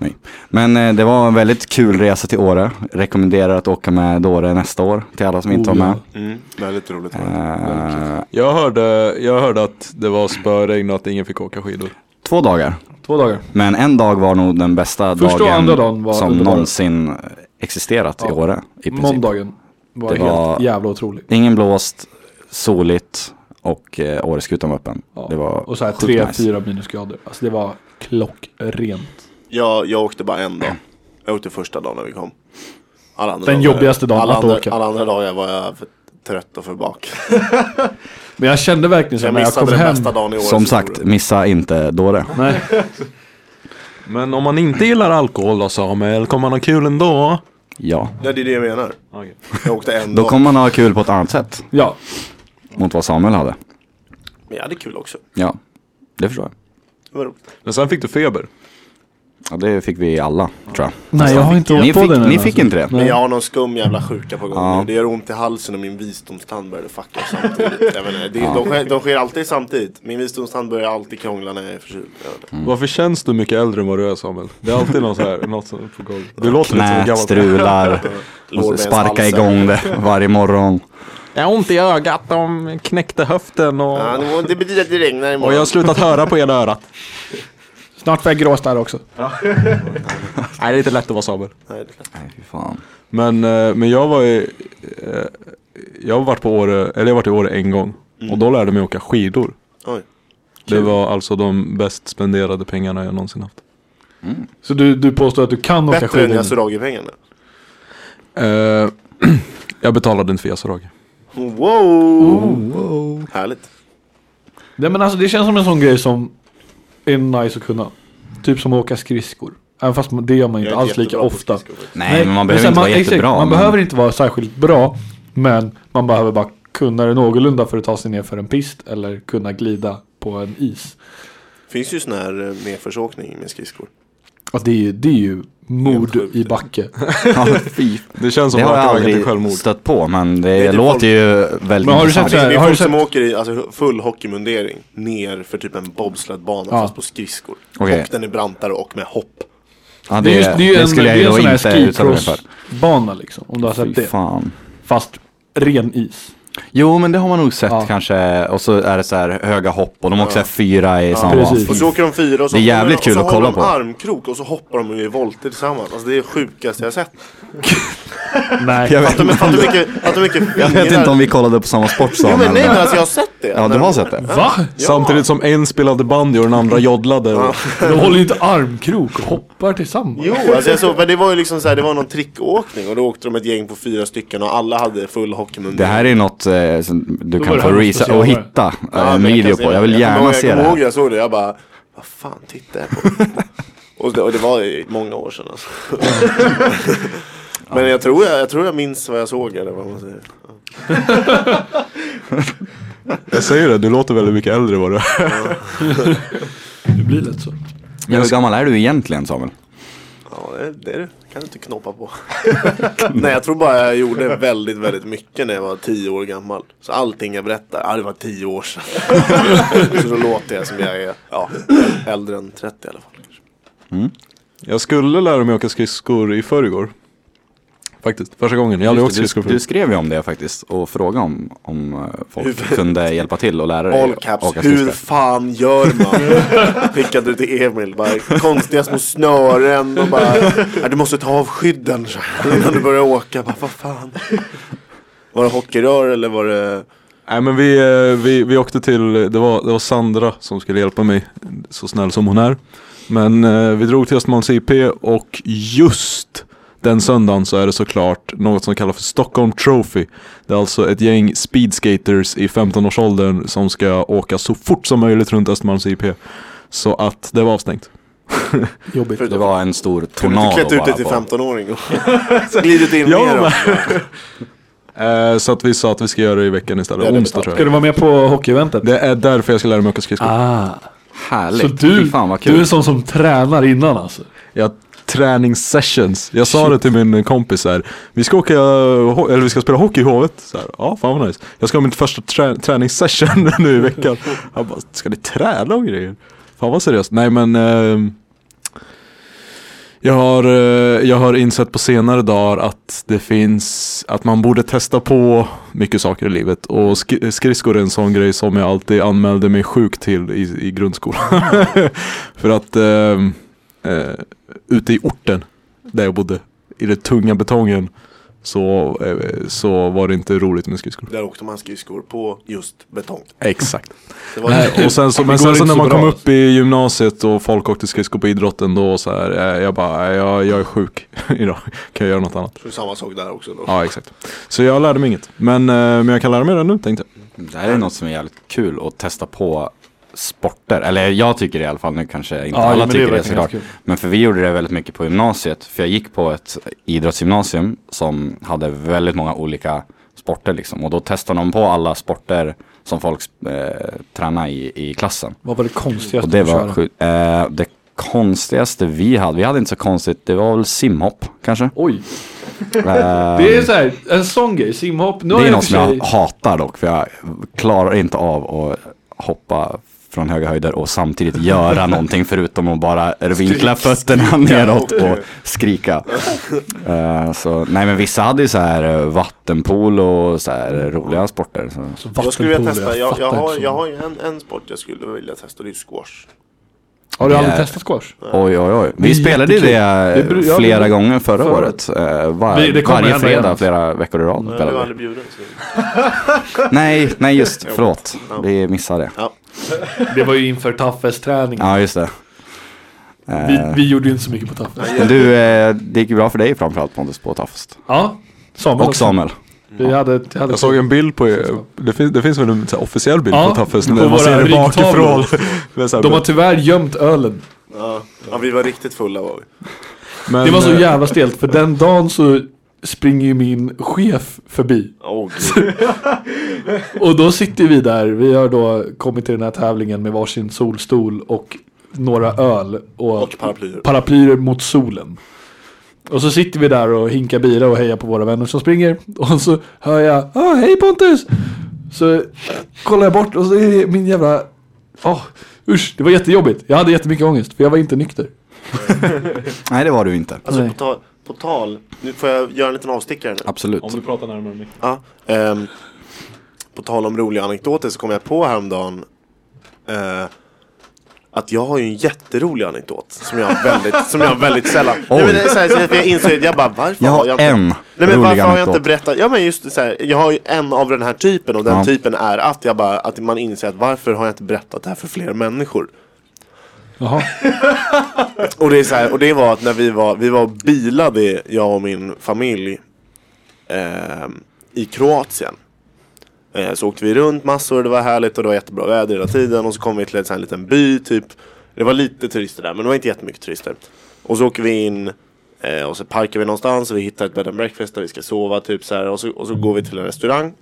[SPEAKER 2] mig. Men eh, det var en väldigt kul resa till Åre. Rekommenderar att åka med Dåre nästa år till alla som inte
[SPEAKER 3] Oh,
[SPEAKER 2] var
[SPEAKER 3] ja.
[SPEAKER 2] med.
[SPEAKER 5] Mm, väldigt roligt. var det.
[SPEAKER 2] Eh,
[SPEAKER 4] Jag hörde, jag hörde att det var spöregn och att ingen fick åka skidor
[SPEAKER 2] två dagar.
[SPEAKER 3] Två dagar.
[SPEAKER 2] Men en dag var nog den bästa
[SPEAKER 3] Första och
[SPEAKER 2] dagen,
[SPEAKER 3] andra dagen var
[SPEAKER 2] som
[SPEAKER 3] underbara.
[SPEAKER 2] någonsin existerat i
[SPEAKER 3] Ja.
[SPEAKER 2] Åre. I princip.
[SPEAKER 3] Måndagen var
[SPEAKER 2] Det
[SPEAKER 3] helt
[SPEAKER 2] var-
[SPEAKER 3] jävla otrolig.
[SPEAKER 2] Ingen blåst, soligt och eh, Åreskutan var öppen.
[SPEAKER 3] Ja.
[SPEAKER 2] Det var
[SPEAKER 3] och så här
[SPEAKER 2] sjukt
[SPEAKER 3] 3-4
[SPEAKER 2] nice.
[SPEAKER 3] minusgrader. Alltså det var klockrent.
[SPEAKER 5] Jag, jag åkte bara en dag. Jag åkte första dagen när vi kom. Alla andra
[SPEAKER 3] Den
[SPEAKER 5] dagar-
[SPEAKER 3] jobbigaste dagen
[SPEAKER 5] alla
[SPEAKER 3] att
[SPEAKER 5] andra,
[SPEAKER 3] åka.
[SPEAKER 5] Alla andra dagar var jag för trött och för bak.
[SPEAKER 3] Men jag kände verkligen så
[SPEAKER 5] Jag
[SPEAKER 3] när jag kom
[SPEAKER 5] missade den
[SPEAKER 3] hem.
[SPEAKER 5] bästa dagen i år.
[SPEAKER 2] Som sagt, missa inte Dåre.
[SPEAKER 3] Nej,
[SPEAKER 4] Men om man inte gillar alkohol då Samuel, kommer man ha kul ändå?
[SPEAKER 2] Ja.
[SPEAKER 5] Ja, det är det jag menar.
[SPEAKER 4] Okej.
[SPEAKER 5] Jag åkte en
[SPEAKER 2] Då
[SPEAKER 5] dag.
[SPEAKER 2] kommer man ha kul på ett annat sätt
[SPEAKER 3] ja.
[SPEAKER 2] mot vad Samuel hade.
[SPEAKER 5] Men jag hade kul också.
[SPEAKER 2] Ja, det förstår jag.
[SPEAKER 5] Det var roligt.
[SPEAKER 4] Men sen fick du feber
[SPEAKER 2] Ja, det fick vi alla, tror jag.
[SPEAKER 3] Nej, jag har inte
[SPEAKER 2] Ni
[SPEAKER 3] åkt på
[SPEAKER 2] fick,
[SPEAKER 3] den än,
[SPEAKER 2] ni fick
[SPEAKER 3] alltså.
[SPEAKER 2] inte det?
[SPEAKER 5] Men jag har någon skum jävla sjuka på gång
[SPEAKER 2] Ja.
[SPEAKER 5] nu. Det gör ont i halsen och min visdomstand började fucka samtidigt. Jag vet inte, det, de, sker, de sker alltid samtidigt. Min visdomstand börjar alltid krångla när jag är förkyld. Jag vet inte.
[SPEAKER 4] Varför känns du mycket äldre än vad du är Samuel? Det är alltid något, så här, något som är på gång Du låter lite som en
[SPEAKER 2] Knät
[SPEAKER 3] [LAUGHS]
[SPEAKER 4] gammal
[SPEAKER 2] strular, måste sparka
[SPEAKER 5] Lårbenshalsen.
[SPEAKER 2] igång det varje morgon.
[SPEAKER 4] Jag har ont i ögat, de knäckte höften och...
[SPEAKER 5] Ja, det må- det betyder att det regnar
[SPEAKER 4] Och
[SPEAKER 5] imorgon.
[SPEAKER 4] jag har slutat höra på ena örat
[SPEAKER 3] Snart får jag gråstarr också.
[SPEAKER 4] Nej det är inte lätt att vara Samuel
[SPEAKER 5] Nej, det är klart.
[SPEAKER 2] Nej, fy fan.
[SPEAKER 4] Men, eh, men jag var i, eh, jag har varit på Åre, eller jag har varit i Åre en gång
[SPEAKER 2] Mm.
[SPEAKER 4] och då lärde jag mig åka skidor.
[SPEAKER 5] Oj.
[SPEAKER 4] Det var alltså de bäst spenderade pengarna jag någonsin haft.
[SPEAKER 3] Så du, du påstår att du kan åka
[SPEAKER 5] Bättre än
[SPEAKER 3] skidor?
[SPEAKER 5] Yasuragi-pengarna.
[SPEAKER 4] Eh, [CLEARS THROAT] jag betalade inte för Yasuragi.
[SPEAKER 5] Wow. wow! Härligt.
[SPEAKER 3] Nej men alltså det känns som en sån grej som är nice att kunna. Typ som att åka skridskor. Även fast man- det gör man
[SPEAKER 5] Jag
[SPEAKER 3] inte
[SPEAKER 5] är
[SPEAKER 3] alls lika
[SPEAKER 5] jättebra på
[SPEAKER 3] ofta.
[SPEAKER 5] skridskor faktiskt.
[SPEAKER 2] Nej, men man behöver
[SPEAKER 3] så här,
[SPEAKER 2] inte vara
[SPEAKER 3] exakt,
[SPEAKER 2] jättebra.
[SPEAKER 3] Man
[SPEAKER 2] men- [LAUGHS]
[SPEAKER 3] behöver inte vara särskilt bra. Men man behöver bara kunna det någorlunda för att ta sig ner för en pist. Eller kunna glida på en is.
[SPEAKER 5] Finns ju sån här eh, nedförsåkning med skridskor.
[SPEAKER 3] Och Alltså, det, är, ju- det är ju mord
[SPEAKER 5] sjukt.
[SPEAKER 3] i backe.
[SPEAKER 2] [LAUGHS] Ja, fy
[SPEAKER 4] Det känns som
[SPEAKER 2] Det har jag
[SPEAKER 4] raka vägen till
[SPEAKER 2] aldrig
[SPEAKER 4] självmord.
[SPEAKER 2] stött på men det,
[SPEAKER 5] det är
[SPEAKER 2] låter
[SPEAKER 5] folk-
[SPEAKER 2] ju väldigt
[SPEAKER 3] Men har du
[SPEAKER 2] intressant.
[SPEAKER 3] sett så
[SPEAKER 5] Det
[SPEAKER 3] här-
[SPEAKER 5] är
[SPEAKER 3] har
[SPEAKER 5] folk
[SPEAKER 3] du
[SPEAKER 5] som
[SPEAKER 3] sett-
[SPEAKER 5] åker i alltså, full hockeymundering ner för typ en bobsledbana
[SPEAKER 3] Ja.
[SPEAKER 5] fast på skridskor.
[SPEAKER 2] Okej.
[SPEAKER 5] Och den är brantare och med hopp.
[SPEAKER 2] Ja,
[SPEAKER 3] Det är, just, det är ju en,
[SPEAKER 2] skulle
[SPEAKER 3] det är en
[SPEAKER 2] jag
[SPEAKER 3] sån
[SPEAKER 2] ju då
[SPEAKER 3] här
[SPEAKER 2] inte uttala mig för.
[SPEAKER 3] skicrossbana liksom. Om du har sett
[SPEAKER 2] Fy
[SPEAKER 3] det.
[SPEAKER 2] fan. [LAUGHS]
[SPEAKER 3] Fast ren is.
[SPEAKER 2] Jo men det har man nog sett
[SPEAKER 3] Ja.
[SPEAKER 2] kanske och så är det så här höga hopp och de har också så här fyra i samma
[SPEAKER 3] Precis.
[SPEAKER 5] Och så åker de fyra och så,
[SPEAKER 2] Mm. Det är jävligt
[SPEAKER 5] och så,
[SPEAKER 2] kul att kolla
[SPEAKER 5] håller de
[SPEAKER 2] på.
[SPEAKER 5] armkrok och så hoppar de i volter tillsammans. Alltså det är det sjukaste jag har sett.
[SPEAKER 3] Nej.
[SPEAKER 2] Jag vet,
[SPEAKER 5] Fattar du fattar du mycket, fattar du mycket
[SPEAKER 2] jag vet
[SPEAKER 5] fingrar-
[SPEAKER 2] inte om vi kollade på samma sport
[SPEAKER 5] Jo
[SPEAKER 2] Samuel.
[SPEAKER 5] men nej men alltså jag har sett det.
[SPEAKER 2] Ja du har sett det.
[SPEAKER 3] Va?
[SPEAKER 4] Samtidigt som en spelade bandy och den andra joddlade. Och,
[SPEAKER 3] De håller ju inte armkrok och hoppar tillsammans.
[SPEAKER 5] Jo, alltså jag såg, men det var ju liksom så här, det var någon trickåkning och då åkte de ett gäng på fyra stycken och alla hade full hockeymundial.
[SPEAKER 2] Det här är något eh, som du
[SPEAKER 3] var
[SPEAKER 2] kan
[SPEAKER 3] det
[SPEAKER 2] få
[SPEAKER 3] här man
[SPEAKER 2] resa
[SPEAKER 3] får
[SPEAKER 2] och
[SPEAKER 3] se.
[SPEAKER 2] hitta eh,
[SPEAKER 5] Ja,
[SPEAKER 2] en
[SPEAKER 5] men
[SPEAKER 2] video
[SPEAKER 5] kan se
[SPEAKER 2] på. Jag vill
[SPEAKER 5] kommer
[SPEAKER 2] gärna
[SPEAKER 5] ihåg-
[SPEAKER 2] se
[SPEAKER 5] Jag
[SPEAKER 2] det
[SPEAKER 5] kommer ihåg,
[SPEAKER 2] här.
[SPEAKER 5] jag såg det, jag bara, vad fan tittar jag
[SPEAKER 2] [LAUGHS]
[SPEAKER 5] på? och, det, och det var ju många år sedan alltså.
[SPEAKER 2] [LAUGHS]
[SPEAKER 5] Men jag tror jag, jag tror jag minns vad jag såg eller vad man säger.
[SPEAKER 4] jag säger det, du låter väldigt mycket äldre vad du är.
[SPEAKER 3] Det blir lätt så.
[SPEAKER 2] Men hur gammal är du egentligen Samuel?
[SPEAKER 5] Ja, det, det kan du inte
[SPEAKER 2] [LAUGHS]
[SPEAKER 5] knåpa på. Nej, jag tror bara jag gjorde väldigt, väldigt mycket när jag var tio år gammal. Så allting jag berättar, ja det var tio år sedan. [LAUGHS] så då låter jag som jag är ja, äldre än 30 i alla fall.
[SPEAKER 4] Jag skulle lära mig åka skridskor i förrgår. Faktiskt, första gången. Jag har aldrig åkt
[SPEAKER 2] Just det,
[SPEAKER 4] skridskor
[SPEAKER 2] du, du
[SPEAKER 4] förut.
[SPEAKER 2] skrev ju om det faktiskt och frågade om, om eh, folk
[SPEAKER 5] Hur-
[SPEAKER 2] kunde hjälpa till och lära dig
[SPEAKER 5] All
[SPEAKER 2] att
[SPEAKER 5] caps,
[SPEAKER 2] åka
[SPEAKER 5] hur
[SPEAKER 2] skridskor.
[SPEAKER 5] fan gör man? [LAUGHS] Skickade du till Emil, bara konstiga små snören och bara "Ja, Du måste ta av skydden så här innan du börjar åka, bara vad fan Var det hockeyrör eller var det
[SPEAKER 4] Nej men vi, eh, vi, vi åkte till, det var, det var Sandra som skulle hjälpa mig, så snäll som hon är. Men eh, vi drog till Östermalms IP och just den söndagen så är det såklart något som kallas för Stockholm Trophy. Det är alltså ett gäng speedskaters i 15-årsåldern som ska åka så fort som möjligt runt Östermalms IP. Så att det var avstängt.
[SPEAKER 3] Jobbigt.
[SPEAKER 2] Det var en stor
[SPEAKER 5] Kunde du inte
[SPEAKER 2] tornado
[SPEAKER 5] klätt ut dig till
[SPEAKER 2] på-
[SPEAKER 5] 15-åring och glidit in
[SPEAKER 4] Ja,
[SPEAKER 5] mer
[SPEAKER 4] men-
[SPEAKER 5] då?
[SPEAKER 4] Eh, så att vi sa att vi ska göra det i veckan istället,
[SPEAKER 5] Ja, det
[SPEAKER 4] onsdag tror
[SPEAKER 3] Ska
[SPEAKER 4] jag.
[SPEAKER 3] du vara med på hockeyeventet?
[SPEAKER 4] Det är därför jag ska lära mig åka skridskor.
[SPEAKER 3] Ah.
[SPEAKER 2] Härligt,
[SPEAKER 3] Så du,
[SPEAKER 2] Fy fan vad
[SPEAKER 3] du är
[SPEAKER 2] kul.
[SPEAKER 3] en sån som tränar innan alltså?
[SPEAKER 4] Jag träningssessions. Jag sa det till min kompis här. Vi ska åka, ho- eller vi ska spela hockey i Hovet. Så här, ja, fan vad nice. Jag ska ha min första trä- träningssession [LAUGHS] nu i veckan. Han bara, ska ni träna och grejer? Fan vad seriöst. Nej men. ehm, jag har, eh, jag har insett på senare dagar att det finns, att man borde testa på mycket saker i livet. Och sk- skridskor är en sån grej som jag alltid anmälde mig sjuk till i, i grundskolan. [LAUGHS] För att ehm, eh, ute i orten där jag bodde, i den tunga betongen, så, eh, så var det inte roligt med skridskor.
[SPEAKER 5] Där åkte man skridskor på just betong
[SPEAKER 4] [LAUGHS] Exakt.
[SPEAKER 5] Det var ju
[SPEAKER 4] Och sen så,
[SPEAKER 3] Det
[SPEAKER 4] men
[SPEAKER 3] går
[SPEAKER 4] sen så
[SPEAKER 3] inte
[SPEAKER 4] när
[SPEAKER 3] så
[SPEAKER 4] man
[SPEAKER 3] bra.
[SPEAKER 4] kom upp i gymnasiet och folk åkte skridskor på idrotten då så här, eh, jag bara, eh, jag, jag är sjuk [LAUGHS] idag, kan jag göra något annat?
[SPEAKER 5] så samma sak där också då
[SPEAKER 4] Ja exakt. Så jag lärde mig inget, men, eh, men jag kan lära mig det nu tänkte jag.
[SPEAKER 2] Det här är något som är jävligt kul att testa på sporter. Eller jag tycker det i alla fall, nu kanske inte
[SPEAKER 3] Ja,
[SPEAKER 2] alla
[SPEAKER 3] men det är
[SPEAKER 2] tycker det,
[SPEAKER 3] verkligen
[SPEAKER 2] såklart.
[SPEAKER 3] kul.
[SPEAKER 2] Men för vi gjorde det väldigt mycket på gymnasiet. För jag gick på ett idrottsgymnasium som hade väldigt många olika sporter liksom. Och då testade de på alla sporter som folk eh, tränade i, i klassen.
[SPEAKER 3] Vad var det konstigaste
[SPEAKER 2] Och det
[SPEAKER 3] du
[SPEAKER 2] var
[SPEAKER 3] körde?
[SPEAKER 2] sjukt. Eh, det konstigaste vi hade, vi hade inte så konstigt, det var väl simhopp kanske.
[SPEAKER 3] Oj,
[SPEAKER 2] Eh,
[SPEAKER 3] det är såhär, en sån grej, simhopp. Nu har
[SPEAKER 2] Det är
[SPEAKER 3] jag i och
[SPEAKER 2] något
[SPEAKER 3] för
[SPEAKER 2] som jag
[SPEAKER 3] sig...
[SPEAKER 2] hatar dock, för jag klarar inte av att hoppa från höga höjder och samtidigt
[SPEAKER 3] [LAUGHS]
[SPEAKER 2] göra någonting förutom att bara vinkla fötterna neråt och skrika. Eh, så, nej men vissa hade ju så här eh, vattenpool och så här eh, roliga sporter. Så.
[SPEAKER 5] Jag skulle vilja testa, jag, jag,
[SPEAKER 3] fattar
[SPEAKER 5] har,
[SPEAKER 3] inte
[SPEAKER 5] jag
[SPEAKER 3] så.
[SPEAKER 5] har ju en, en sport jag skulle vilja testa, det är ju squash
[SPEAKER 3] Har du aldrig
[SPEAKER 2] Eh,
[SPEAKER 3] testat squash?
[SPEAKER 2] Oj oj oj.
[SPEAKER 3] Det
[SPEAKER 2] Vi
[SPEAKER 3] är
[SPEAKER 2] spelade ju det,
[SPEAKER 3] jättekul. Det bru- ja,
[SPEAKER 2] flera
[SPEAKER 3] det-
[SPEAKER 2] gånger förra,
[SPEAKER 3] förra
[SPEAKER 2] året. Eh, var,
[SPEAKER 3] Vi- det kommer
[SPEAKER 2] varje
[SPEAKER 3] hända
[SPEAKER 2] fredag
[SPEAKER 3] igen.
[SPEAKER 2] flera veckor i rad.
[SPEAKER 5] Jag
[SPEAKER 2] spelade
[SPEAKER 5] blev
[SPEAKER 2] vi.
[SPEAKER 5] aldrig bjuden så.
[SPEAKER 2] Nej, nej
[SPEAKER 3] [LAUGHS]
[SPEAKER 2] just, förlåt.
[SPEAKER 5] Ja.
[SPEAKER 2] Vi missade det.
[SPEAKER 5] Ja.
[SPEAKER 3] Det var ju inför Taffes-träningen.
[SPEAKER 2] Ja just det. Eh,
[SPEAKER 3] Vi, vi gjorde ju inte så mycket på Taffes.
[SPEAKER 2] Men du, eh, det gick ju bra för dig framförallt Pontus på Tafst.
[SPEAKER 3] Ja, Samuel
[SPEAKER 2] Och Samuel.
[SPEAKER 3] Vi hade, vi hade
[SPEAKER 4] Jag såg en bild på er, det finns, det finns väl en så här, officiell bild
[SPEAKER 3] Ja,
[SPEAKER 4] på Taffes
[SPEAKER 3] på
[SPEAKER 4] när man
[SPEAKER 3] våra
[SPEAKER 4] ser det
[SPEAKER 3] ryggtavlor.
[SPEAKER 4] bakifrån. [LAUGHS] Men så här,
[SPEAKER 3] De har tyvärr gömt ölen.
[SPEAKER 5] Ja. ja, vi var riktigt fulla var vi
[SPEAKER 4] men,
[SPEAKER 3] Det var så
[SPEAKER 4] eh,
[SPEAKER 3] jävla stelt för den dagen så springer ju min chef förbi.
[SPEAKER 5] Åh, gud.
[SPEAKER 3] Och då sitter vi där, vi har då kommit till den här tävlingen med varsin solstol och några öl. Och,
[SPEAKER 5] Och paraplyer
[SPEAKER 3] paraplyer mot solen. Och så sitter vi där och hinkar bira och hejar på våra vänner som springer. Och så hör jag, ah, hej Pontus! Så kollar jag bort och så är det min jävla, ah, usch, det var jättejobbigt. Jag hade jättemycket ångest för jag var inte nykter.
[SPEAKER 2] Nej det var du inte.
[SPEAKER 5] Alltså
[SPEAKER 3] Nej.
[SPEAKER 5] på tal, på tal, nu får jag göra en liten avstickare nu.
[SPEAKER 2] Absolut.
[SPEAKER 4] pratar närmare mig.
[SPEAKER 5] Ja, ehm, på tal om roliga anekdoter så kom jag på häromdagen eh, att jag har ju en jätterolig anekdot som jag har väldigt, som jag har väldigt
[SPEAKER 2] [LAUGHS]
[SPEAKER 5] sällan. Nej, men det är så här, så jag insåg, jag bara varför
[SPEAKER 2] Jag har
[SPEAKER 5] jag
[SPEAKER 2] en
[SPEAKER 5] Nej men
[SPEAKER 2] rolig
[SPEAKER 5] varför har jag
[SPEAKER 2] anekdot.
[SPEAKER 5] inte berättat? Ja men just det, så här, jag har ju en av den här typen och den
[SPEAKER 2] Ja.
[SPEAKER 5] typen är att jag bara, att man inser att varför har jag inte berättat det här för fler människor?
[SPEAKER 3] Jaha.
[SPEAKER 5] Och det, är så här, och det var att när vi var, vi var och bilade, jag och min familj, ehm, i Kroatien. Eh, så åkte vi runt massor, det var härligt och det var jättebra väder hela tiden. Och så kom vi till en sån här liten by typ. Det var lite turister där, men det var inte jättemycket turister. Och så åker vi in eh, och så parkar vi någonstans och vi hittar ett bed and breakfast där vi ska sova typ så här. Och så, och så går vi till en restaurang.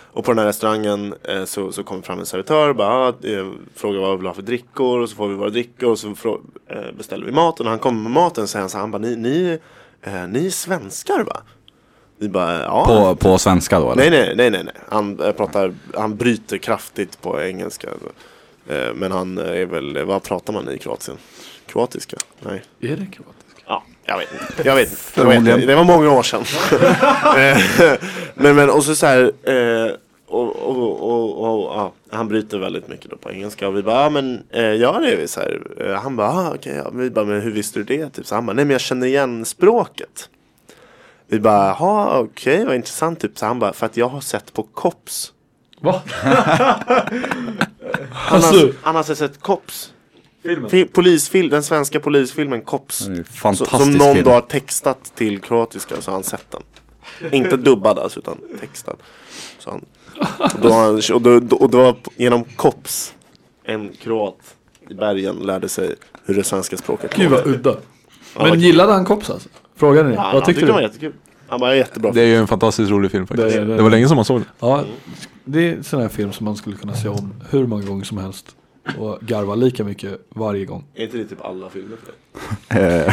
[SPEAKER 5] Och på den här restaurangen eh, så, så kommer fram en servitör och bara, ah, eh, frågar vad vi vill ha för drickor och så får vi våra drickor och så frå- eh, beställer vi mat och när han kommer med maten säger han så här, han bara, ni, ni, eh, ni är svenskar va? Vi bara, ja.
[SPEAKER 2] På, på svenska då eller?
[SPEAKER 5] Nej, nej, nej, nej, nej. Han eh, pratar, han bryter kraftigt på engelska. Eh, Men han eh, är väl, vad pratar man i Kroatien? Kroatiska? Nej.
[SPEAKER 3] Är det kroatiskt?
[SPEAKER 5] Ja, jag vet inte. Jag vet inte. Jag vet inte. Det var många år sedan. [LAUGHS] Eh, men, men och så så här. Eh, och, och, och, och, ja, han bryter väldigt mycket då på engelska och vi bara, ah, men eh, ja det är vi så här. Eh, han bara, ah, okej, ja. vi bara, men hur visste du det? Typ, så han bara, nej men jag känner igen språket. Vi bara, jaha okej vad intressant typ. Så han bara, för att jag har sett på Kops.
[SPEAKER 3] Va?
[SPEAKER 5] Han har,
[SPEAKER 3] Alltså-
[SPEAKER 5] han har alltså sett Kops.
[SPEAKER 3] Filmen?
[SPEAKER 5] Fi- Polisfil, den svenska polisfilmen Kops.
[SPEAKER 2] Det är ju
[SPEAKER 5] Så-
[SPEAKER 2] Fantastisk
[SPEAKER 5] Som någon
[SPEAKER 2] film.
[SPEAKER 5] då har textat till kroatiska så har han sett den. Inte dubbad alltså utan textad. Så han, och, då har han, och, då, och det var p- genom Kops en kroat i bergen lärde sig hur det svenska språket
[SPEAKER 3] Gud vad
[SPEAKER 5] låter.
[SPEAKER 3] udda.
[SPEAKER 5] vad-
[SPEAKER 3] Men gillade han Kops alltså? Frågade ni?
[SPEAKER 5] Ja,
[SPEAKER 3] Vad tyckte
[SPEAKER 5] han var
[SPEAKER 3] du?
[SPEAKER 5] jättekul. Han bara jättebra.
[SPEAKER 4] Det är ju en fantastiskt rolig film faktiskt.
[SPEAKER 3] Det
[SPEAKER 4] Det,
[SPEAKER 3] är det.
[SPEAKER 4] var länge som man såg den.
[SPEAKER 3] Ja, det är en sån här film som man skulle kunna se om hur många gånger som helst. Och garva lika mycket varje gång.
[SPEAKER 5] Är inte det typ alla filmer för dig?
[SPEAKER 2] Eh,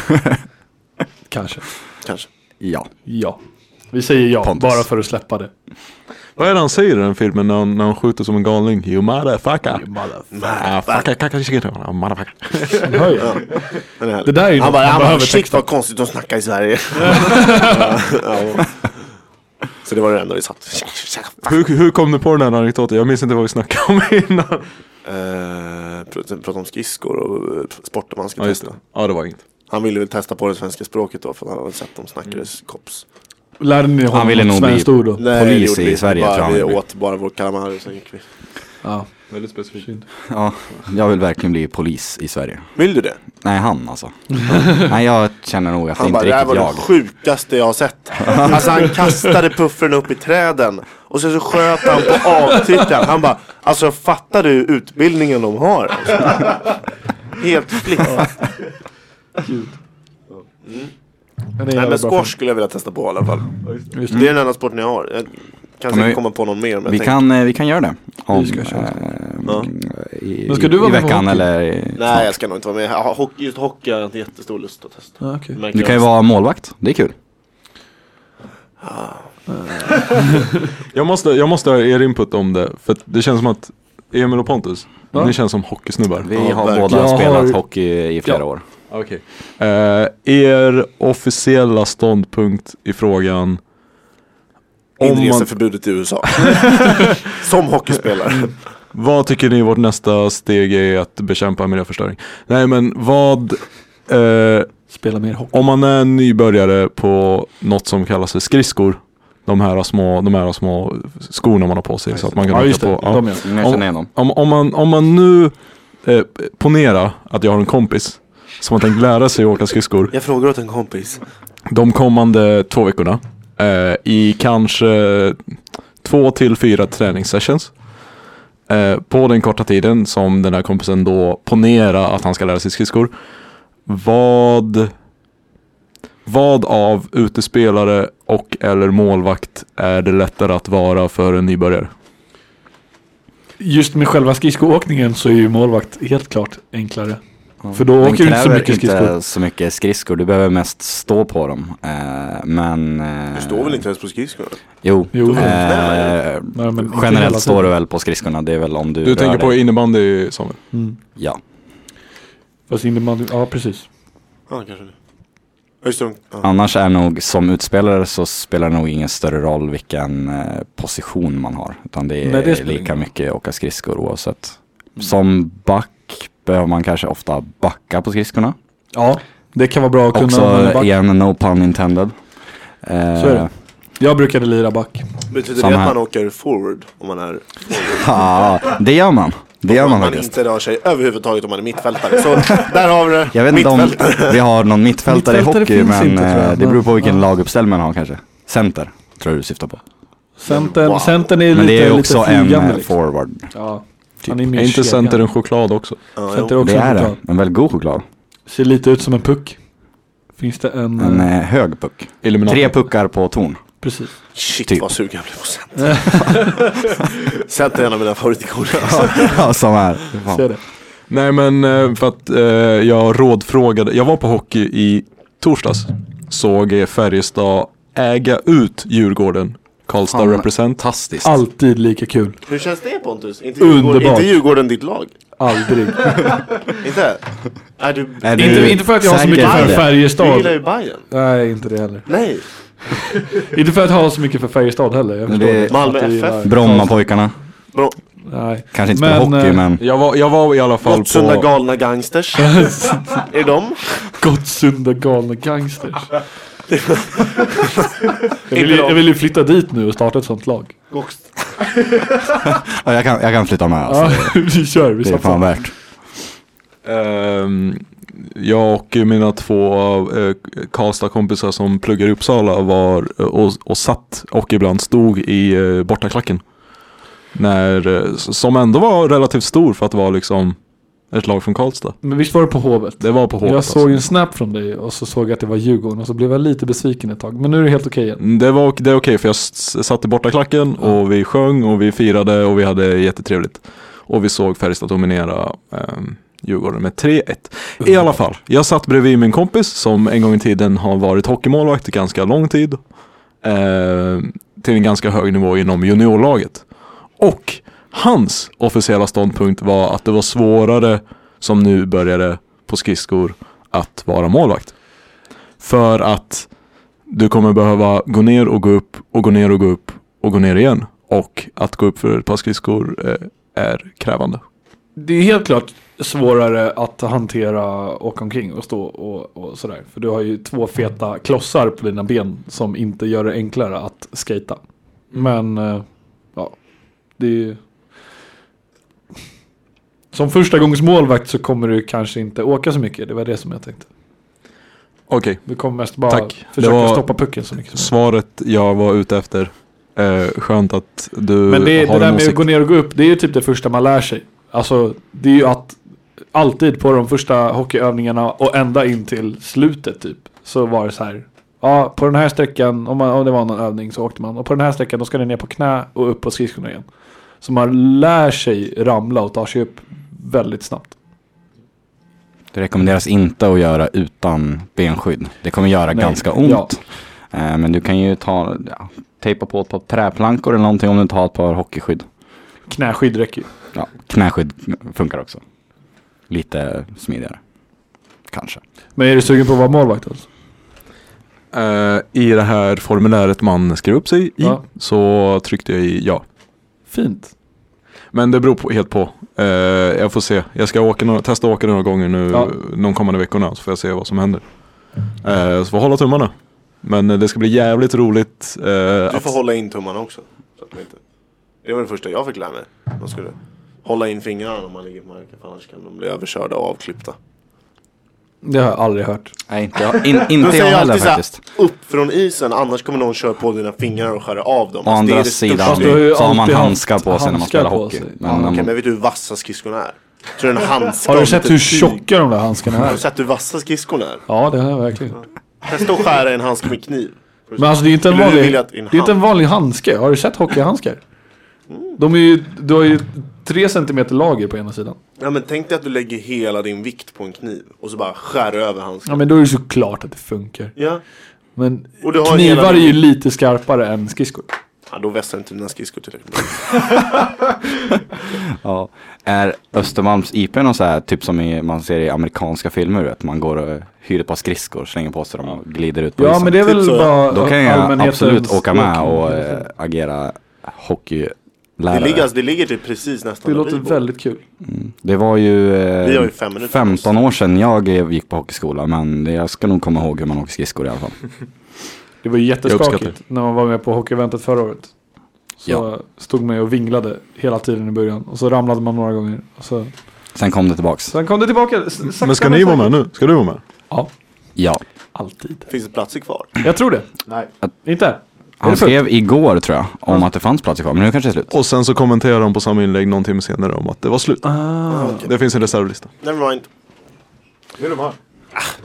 [SPEAKER 2] [LAUGHS]
[SPEAKER 3] Kanske.
[SPEAKER 5] Kanske.
[SPEAKER 2] ja.
[SPEAKER 3] Ja. Vi säger ja,
[SPEAKER 2] Pontus.
[SPEAKER 3] bara för att släppa det.
[SPEAKER 4] Vad är det han säger i den filmen när han, när han skjuter som en galning? You motherfucker! Ah, fucka, kacka, kicka, kicka, motherfucker.
[SPEAKER 3] Den hör ju.
[SPEAKER 5] Den här.
[SPEAKER 3] Det där är ju
[SPEAKER 5] han
[SPEAKER 3] något
[SPEAKER 5] bara,
[SPEAKER 3] man
[SPEAKER 5] han bara
[SPEAKER 3] behöver
[SPEAKER 5] shit
[SPEAKER 3] texta."
[SPEAKER 5] vad konstigt de snackar i Sverige. ja. Så det var det enda vi satt.
[SPEAKER 4] Hur, hur kom du på den här anekdoten? Jag minns inte vad vi snackade om [LAUGHS] innan.
[SPEAKER 5] Eh, pr- prata om skridskor och eh, sporter man ska
[SPEAKER 4] Ja, just
[SPEAKER 5] testa.
[SPEAKER 4] det. Ja, det var inget.
[SPEAKER 5] Han ville väl testa på det svenska språket då för att han hade sett dem snackades kops.
[SPEAKER 3] Lärde ni
[SPEAKER 2] Han
[SPEAKER 3] honom
[SPEAKER 2] ville
[SPEAKER 3] något
[SPEAKER 2] nog
[SPEAKER 3] svenskt
[SPEAKER 2] bli-
[SPEAKER 3] ord då?
[SPEAKER 5] Nej,
[SPEAKER 2] Polis
[SPEAKER 5] det gjorde
[SPEAKER 2] i
[SPEAKER 5] vi inte.
[SPEAKER 2] Sverige,
[SPEAKER 5] bara,
[SPEAKER 2] tror jag
[SPEAKER 5] Vi
[SPEAKER 2] han blev.
[SPEAKER 5] åt bara vår kalamari och sen gick vi.
[SPEAKER 3] Ja.
[SPEAKER 4] Väldigt specifikt.
[SPEAKER 2] ja, jag vill verkligen bli polis i Sverige.
[SPEAKER 5] Vill du det?
[SPEAKER 2] Nej, han [LAUGHS] alltså. Nej, jag känner nog att det
[SPEAKER 5] Han
[SPEAKER 2] inte
[SPEAKER 5] bara, det här var
[SPEAKER 2] riktigt jag.
[SPEAKER 5] det sjukaste jag har sett. Alltså han kastade puffern upp i träden. Och sen så sköt han på avtittaren. Han bara, alltså fattar du utbildningen de har? Alltså. Helt flippat.
[SPEAKER 3] Men det är
[SPEAKER 5] Mm. Nej men
[SPEAKER 3] jävla bra
[SPEAKER 5] squash skulle jag vilja testa på i alla fall.
[SPEAKER 3] film. Just
[SPEAKER 5] Det är den enda sporten jag har. Jag kan
[SPEAKER 2] men
[SPEAKER 5] säkert
[SPEAKER 2] vi-
[SPEAKER 5] komma på någon mer om jag
[SPEAKER 2] Vi
[SPEAKER 5] tänker.
[SPEAKER 2] kan, eh, vi kan göra det. Om,
[SPEAKER 3] Vi ska köra.
[SPEAKER 2] eh,
[SPEAKER 5] Ja.
[SPEAKER 2] i,
[SPEAKER 3] Men ska du
[SPEAKER 2] i
[SPEAKER 3] vara med på
[SPEAKER 2] veckan
[SPEAKER 3] hockey?
[SPEAKER 2] eller i-
[SPEAKER 5] Nej jag ska nog inte vara med. Jag har- hockey- Just hockey har jag inte jättestor lust att testa.
[SPEAKER 3] Ja, okej.
[SPEAKER 5] Märker
[SPEAKER 2] Du kan ju
[SPEAKER 5] jag.
[SPEAKER 2] vara målvakt, det är kul.
[SPEAKER 4] Jag måste, jag måste ha er input om det, för att det känns som att Emil och Pontus,
[SPEAKER 3] Ja.
[SPEAKER 4] ni känns som hockeysnubbar.
[SPEAKER 2] Vi
[SPEAKER 5] Ja,
[SPEAKER 2] har
[SPEAKER 5] verkligen.
[SPEAKER 2] båda
[SPEAKER 3] Jag
[SPEAKER 2] spelat
[SPEAKER 3] har-
[SPEAKER 2] hockey i flera
[SPEAKER 3] Ja.
[SPEAKER 2] år.
[SPEAKER 4] Okej. Eh, er officiella ståndpunkt i frågan om man,
[SPEAKER 5] Inreseförbudet
[SPEAKER 2] [LAUGHS]
[SPEAKER 5] i USA. Som hockeyspelare.
[SPEAKER 4] Vad tycker ni vårt nästa steg är att bekämpa miljöförstöring? Nej men vad eh,
[SPEAKER 3] Spela mer hockey.
[SPEAKER 4] Om man är nybörjare på något som kallas för skridskor de här små, de här små skorna man har på sig så att man kan
[SPEAKER 3] Ja
[SPEAKER 4] åka
[SPEAKER 3] just det,
[SPEAKER 4] på. Ja.
[SPEAKER 3] de ja.
[SPEAKER 2] Jag känner igen dem.
[SPEAKER 4] Om, om, man, om man nu eh, ponera att jag har en kompis som har tänkt lära sig att åka skridskor
[SPEAKER 5] Jag frågar åt en kompis.
[SPEAKER 4] de kommande två veckorna eh, i kanske två till fyra träningssessions. Eh, på den korta tiden som den här kompisen då ponera att han ska lära sig skridskor. Vad, vad av utespelare och eller målvakt är det lättare att vara för en nybörjare?
[SPEAKER 3] Just med själva skridskoåkningen så är ju målvakt helt klart enklare. För då
[SPEAKER 2] Den
[SPEAKER 3] åker du inte så
[SPEAKER 2] kräver
[SPEAKER 3] mycket skridskor.
[SPEAKER 2] inte så mycket skridskor, du behöver mest stå på dem. Eh, men... eh,
[SPEAKER 5] Du står väl inte ens på skridskorna?
[SPEAKER 2] Jo.
[SPEAKER 3] Jo.
[SPEAKER 2] Eh,
[SPEAKER 3] Nej, men inte hela
[SPEAKER 2] generellt
[SPEAKER 3] tiden.
[SPEAKER 2] står du väl på skridskorna, det är väl om du
[SPEAKER 4] Du
[SPEAKER 2] rör
[SPEAKER 4] tänker på
[SPEAKER 2] dig.
[SPEAKER 4] innebandy Samuel?
[SPEAKER 3] Mm.
[SPEAKER 2] Ja.
[SPEAKER 3] Fast innebandy, ja precis.
[SPEAKER 5] Ja, kanske det. Just det, ja.
[SPEAKER 2] Annars är nog som utspelare så spelar det nog ingen större roll vilken eh, position man har. Utan det är
[SPEAKER 3] Nej, det
[SPEAKER 2] lika
[SPEAKER 3] spelar ingen roll. Mm.
[SPEAKER 2] mycket åka skridskor oavsett. Som back behöver man kanske ofta backa på skridskorna.
[SPEAKER 3] Ja, det kan vara bra att kunna använda
[SPEAKER 2] Också
[SPEAKER 3] back.
[SPEAKER 2] igen, no pun intended. Eh, [LAUGHS]
[SPEAKER 3] Så är det. Jag brukade lira back.
[SPEAKER 5] Betyder
[SPEAKER 2] Samma
[SPEAKER 5] det att
[SPEAKER 2] här.
[SPEAKER 5] man åker forward om man är
[SPEAKER 2] ja, det gör man. Det gör
[SPEAKER 5] Om
[SPEAKER 2] man
[SPEAKER 5] man
[SPEAKER 2] faktiskt.
[SPEAKER 5] inte rör sig överhuvudtaget om man är mittfältare.
[SPEAKER 2] [LAUGHS]
[SPEAKER 5] Så där har vi det.
[SPEAKER 2] Jag vet inte om
[SPEAKER 5] Mittfältare.
[SPEAKER 2] vi har någon mittfältare i
[SPEAKER 3] Mittfältare
[SPEAKER 2] hockey
[SPEAKER 3] finns
[SPEAKER 2] men
[SPEAKER 3] inte, tror jag.
[SPEAKER 2] eh, det beror på vilken
[SPEAKER 3] Ja.
[SPEAKER 2] laguppställning man har kanske. Center tror jag du syftar på.
[SPEAKER 3] Centern,
[SPEAKER 5] Wow.
[SPEAKER 3] centern är
[SPEAKER 2] Men det
[SPEAKER 3] lite,
[SPEAKER 2] är också
[SPEAKER 3] lite
[SPEAKER 2] en
[SPEAKER 3] flygande.
[SPEAKER 2] eh,
[SPEAKER 3] liksom.
[SPEAKER 2] forward.
[SPEAKER 3] Ja, han är med
[SPEAKER 4] Är
[SPEAKER 3] i
[SPEAKER 4] inte
[SPEAKER 3] Typ. kedjan.
[SPEAKER 4] center en choklad också?
[SPEAKER 5] Ja,
[SPEAKER 3] Center
[SPEAKER 5] jo.
[SPEAKER 3] också
[SPEAKER 2] Det är det.
[SPEAKER 3] choklad.
[SPEAKER 2] En väldigt god choklad.
[SPEAKER 3] Ser lite ut som en puck. Finns det en...
[SPEAKER 2] En
[SPEAKER 3] eh,
[SPEAKER 2] eh, hög puck.
[SPEAKER 4] Illuminati.
[SPEAKER 2] Tre puckar på
[SPEAKER 3] [LAUGHS]
[SPEAKER 2] torn.
[SPEAKER 3] Precis.
[SPEAKER 5] Shit
[SPEAKER 2] Typ.
[SPEAKER 5] vad sugen jag blev på center. [LAUGHS] center är en av mina favoritikoner. Alltså.
[SPEAKER 2] Ja, som är.
[SPEAKER 3] Ser det.
[SPEAKER 4] Nej men eh, för att eh, jag rådfrågade, jag var på hockey i torsdags. Såg eh, Färjestad äga ut Djurgården. Karlstad
[SPEAKER 2] Fan.
[SPEAKER 4] represent.
[SPEAKER 2] Fantastiskt.
[SPEAKER 3] Alltid lika kul.
[SPEAKER 5] Hur känns det Pontus? Inte Djurgården,
[SPEAKER 3] Underbart.
[SPEAKER 5] inte Djurgården ditt lag?
[SPEAKER 2] [LAUGHS]
[SPEAKER 3] Aldrig.
[SPEAKER 5] Inte? Är du,
[SPEAKER 2] Är du
[SPEAKER 3] inte, inte för att jag har så
[SPEAKER 2] säker
[SPEAKER 3] mycket
[SPEAKER 2] på
[SPEAKER 3] för
[SPEAKER 2] det?
[SPEAKER 5] du gillar ju
[SPEAKER 3] Färjestad.
[SPEAKER 5] Bayern.
[SPEAKER 3] Nej, inte det heller.
[SPEAKER 5] Nej,
[SPEAKER 3] Inte för att jag har så mycket för Färjestad heller. Jag
[SPEAKER 2] Men
[SPEAKER 3] förstår
[SPEAKER 2] det-
[SPEAKER 3] att
[SPEAKER 5] Malmö
[SPEAKER 3] du gillar-
[SPEAKER 5] FF.
[SPEAKER 2] Brommapojkarna.
[SPEAKER 5] bra.
[SPEAKER 3] Nej.
[SPEAKER 2] Kanske inte spelar
[SPEAKER 3] Men,
[SPEAKER 2] hockey
[SPEAKER 3] eh,
[SPEAKER 2] men.
[SPEAKER 4] Jag var, jag var i alla fall
[SPEAKER 5] Gottsunda
[SPEAKER 4] på...
[SPEAKER 5] galna gangsters.
[SPEAKER 3] [LAUGHS]
[SPEAKER 5] är de?
[SPEAKER 3] Gottsunda galna gangsters. jag, vill ju,
[SPEAKER 5] Inte de.
[SPEAKER 3] jag vill ju flytta dit nu och starta ett sånt lag.
[SPEAKER 2] Ja, jag, kan, jag kan flytta med alltså.
[SPEAKER 3] Ja, [LAUGHS] vi kör, vi
[SPEAKER 2] Det är fan
[SPEAKER 3] satsar.
[SPEAKER 2] värt.
[SPEAKER 4] Ehm, jag och mina två eh, Karlstad-kompisar som pluggar i Uppsala var eh, och, och satt och ibland stod i eh, bortaklacken. När, eh, s- som ändå var relativt stor för att vara liksom ett lag från Karlstad.
[SPEAKER 3] Men visst var det på Hovet?
[SPEAKER 4] Det var på Hovet.
[SPEAKER 3] Jag såg
[SPEAKER 4] alltså.
[SPEAKER 3] en snap från dig och så såg jag att det var Djurgården och så blev jag lite besviken ett tag. Men nu är det helt okej igen.
[SPEAKER 4] Mm, Det, var, ok- det är okej för jag s- satt i bortaklacken och vi sjöng och vi firade och vi hade jättetrevligt. Och vi såg Färjestad dominera ehm, Djurgården med 3-1. I alla fall, jag satt bredvid min kompis som en gång i tiden har varit hockeymålvakt i ganska lång tid. ehm, till en ganska hög nivå inom juniorlaget. Och hans officiella ståndpunkt var att det var svårare som nu började på skridskor att vara målvakt. För att du kommer behöva gå ner och gå upp och gå ner och gå upp och gå ner igen. Och att gå upp för ett par skridskor eh, är krävande.
[SPEAKER 3] Det är helt klart svårare att hantera åka omkring och stå och, och sådär. För du har ju två feta klossar på dina ben som inte gör det enklare att skata. Men eh, ja, det är ju... Som första gångs målvakt så kommer du kanske inte åka så mycket. Det var det som jag tänkte.
[SPEAKER 4] Okej,
[SPEAKER 3] Du kommer mest bara
[SPEAKER 4] Tack. Det
[SPEAKER 3] försöka
[SPEAKER 4] var-
[SPEAKER 3] stoppa pucken så mycket som möjligt.
[SPEAKER 4] svaret jag var ute efter. Eh, skönt att du
[SPEAKER 3] Men det,
[SPEAKER 4] har
[SPEAKER 3] det där
[SPEAKER 4] en
[SPEAKER 3] med att
[SPEAKER 4] åsikt.
[SPEAKER 3] gå ner och gå upp, det är ju typ det första man lär sig. Alltså, det är ju att alltid på de första hockeyövningarna och ända in till slutet typ, så var det så här. Ja, på den här sträckan, om, man, om det var någon övning så åkte man. Och på den här sträckan, då ska ni ner på knä och upp på skridskorna igen. Så man lär sig ramla och ta sig upp väldigt snabbt.
[SPEAKER 2] Det rekommenderas inte att göra utan benskydd. Det kommer göra
[SPEAKER 3] Nej.
[SPEAKER 2] ganska ont.
[SPEAKER 3] Ja.
[SPEAKER 2] Eh, men du kan ju ta, ja, tejpa på ett par träplankor eller någonting om du inte har ett par hockeyskydd.
[SPEAKER 3] Knäskydd räcker ju.
[SPEAKER 2] Ja, knäskydd funkar också. Lite smidigare. Kanske.
[SPEAKER 3] Men är du sugen på att vara målvakt alltså?
[SPEAKER 4] Eh, I det här formuläret man skrev upp sig i
[SPEAKER 3] Ja.
[SPEAKER 4] så tryckte jag i ja.
[SPEAKER 3] Fint.
[SPEAKER 4] Men det beror på, helt på. Eh, jag får se. Jag ska åka några, testa att åka några gånger nu
[SPEAKER 3] Ja.
[SPEAKER 4] de kommande veckorna så får jag se vad som händer.
[SPEAKER 3] Mm.
[SPEAKER 4] Eh, så får jag hålla tummarna. Men eh, det ska bli jävligt roligt. eh,
[SPEAKER 5] Du
[SPEAKER 4] att-
[SPEAKER 5] får hålla in tummarna också. Så att man inte... Det var det första jag fick lära mig. Man skulle hålla in fingrarna om man ligger på marken för annars kan de bli överkörda och avklippta.
[SPEAKER 3] Det har jag aldrig hört.
[SPEAKER 2] Nej, inte jag, [LAUGHS] in,
[SPEAKER 5] De
[SPEAKER 2] inte
[SPEAKER 5] säger
[SPEAKER 2] jag
[SPEAKER 5] ju
[SPEAKER 2] heller
[SPEAKER 5] alltid såhär,
[SPEAKER 2] faktiskt.
[SPEAKER 5] upp från isen annars kommer någon köra på dina fingrar och skära av dem.
[SPEAKER 2] Å
[SPEAKER 5] Alltså, det
[SPEAKER 2] andra
[SPEAKER 5] är det största
[SPEAKER 2] sidan
[SPEAKER 3] du har ju
[SPEAKER 2] så har man
[SPEAKER 3] alltid haft
[SPEAKER 2] handskar på sig när man
[SPEAKER 3] handskar
[SPEAKER 2] spelar
[SPEAKER 3] på
[SPEAKER 2] hockey.
[SPEAKER 3] sig.
[SPEAKER 2] Men, när
[SPEAKER 5] Okej,
[SPEAKER 2] man-
[SPEAKER 5] men vet du hur vassa skridskorna är? Tror du en handske
[SPEAKER 3] Har du
[SPEAKER 5] om
[SPEAKER 3] sett
[SPEAKER 5] inte
[SPEAKER 3] hur
[SPEAKER 5] tyg?
[SPEAKER 3] tjocka de där handskarna
[SPEAKER 5] Har
[SPEAKER 3] är?
[SPEAKER 5] du sett hur vassa skridskorna är?
[SPEAKER 3] typ Ja, det har jag verkligen.
[SPEAKER 5] Testa att skära i en handske med kniv.
[SPEAKER 3] Men alltså det är inte en
[SPEAKER 5] Skulle du
[SPEAKER 3] vanlig,
[SPEAKER 5] vilja att
[SPEAKER 3] det
[SPEAKER 5] din
[SPEAKER 3] är inte en vanlig handske. Har du sett hockeyhandskar?
[SPEAKER 5] Mm.
[SPEAKER 3] De är ju, du har ju tre centimeter lager på ena sidan.
[SPEAKER 5] Ja, men tänk dig att du lägger hela din vikt på en kniv och så bara skär över handsken.
[SPEAKER 3] Ja men då är det såklart att det funkar.
[SPEAKER 5] Ja.
[SPEAKER 3] Men
[SPEAKER 5] Och du har en
[SPEAKER 3] knivar
[SPEAKER 5] hel-
[SPEAKER 3] är ju lite skarpare än skridskor.
[SPEAKER 5] Ja, då vässar inte dina skridskor tillräckligt bra.
[SPEAKER 2] Ja. Är Östermalms IP någon så här, typ som i, man ser i amerikanska filmer, du vet? man går och hyr ett par skridskor, slänger på sig dem och glider ut på
[SPEAKER 3] Ja
[SPEAKER 2] isen.
[SPEAKER 3] men det är
[SPEAKER 5] Typ
[SPEAKER 3] väl
[SPEAKER 5] så.
[SPEAKER 3] bara
[SPEAKER 2] Då kan jag
[SPEAKER 3] allmänhetens
[SPEAKER 2] absolut åka med
[SPEAKER 3] språk.
[SPEAKER 2] och eh, agera
[SPEAKER 5] Det ligger,
[SPEAKER 2] hockeylärare.
[SPEAKER 5] alltså, det ligger typ precis nästan
[SPEAKER 3] Det
[SPEAKER 5] där
[SPEAKER 3] låter
[SPEAKER 5] vi bor.
[SPEAKER 3] väldigt kul.
[SPEAKER 2] Mm. Det var ju, eh,
[SPEAKER 5] Vi har ju fem minuter.
[SPEAKER 2] 15 år sedan jag eh, gick på hockeyskola men det- jag ska nog komma ihåg hur man åker skridskor i alla fall.
[SPEAKER 3] Det var ju
[SPEAKER 4] Jag
[SPEAKER 3] jätteskakigt
[SPEAKER 4] uppskattar.
[SPEAKER 3] när man var med på hockeyeventet förra året. Så
[SPEAKER 2] Ja.
[SPEAKER 3] stod man ju och vinglade hela tiden i början och så ramlade man några gånger. Och så...
[SPEAKER 2] Sen kom det tillbaks.
[SPEAKER 3] Sen kom det tillbaka. s- sakta
[SPEAKER 4] Men ska ni vara med
[SPEAKER 3] säkert.
[SPEAKER 4] nu? Ska du vara med?
[SPEAKER 3] Ja,
[SPEAKER 2] Ja.
[SPEAKER 3] alltid.
[SPEAKER 5] Finns det platser kvar?
[SPEAKER 3] Jag tror det.
[SPEAKER 5] Nej.
[SPEAKER 3] Inte? Är
[SPEAKER 2] Han
[SPEAKER 3] det fullt?
[SPEAKER 2] skrev igår tror jag om att det fanns platser kvar men nu kanske det är slut.
[SPEAKER 4] Och sen så kommenterar de på samma inlägg någon timme senare om att det var slut.
[SPEAKER 3] Ah.
[SPEAKER 4] Det finns en reservlista.
[SPEAKER 5] Never mind. Ah,
[SPEAKER 4] Vill de ha?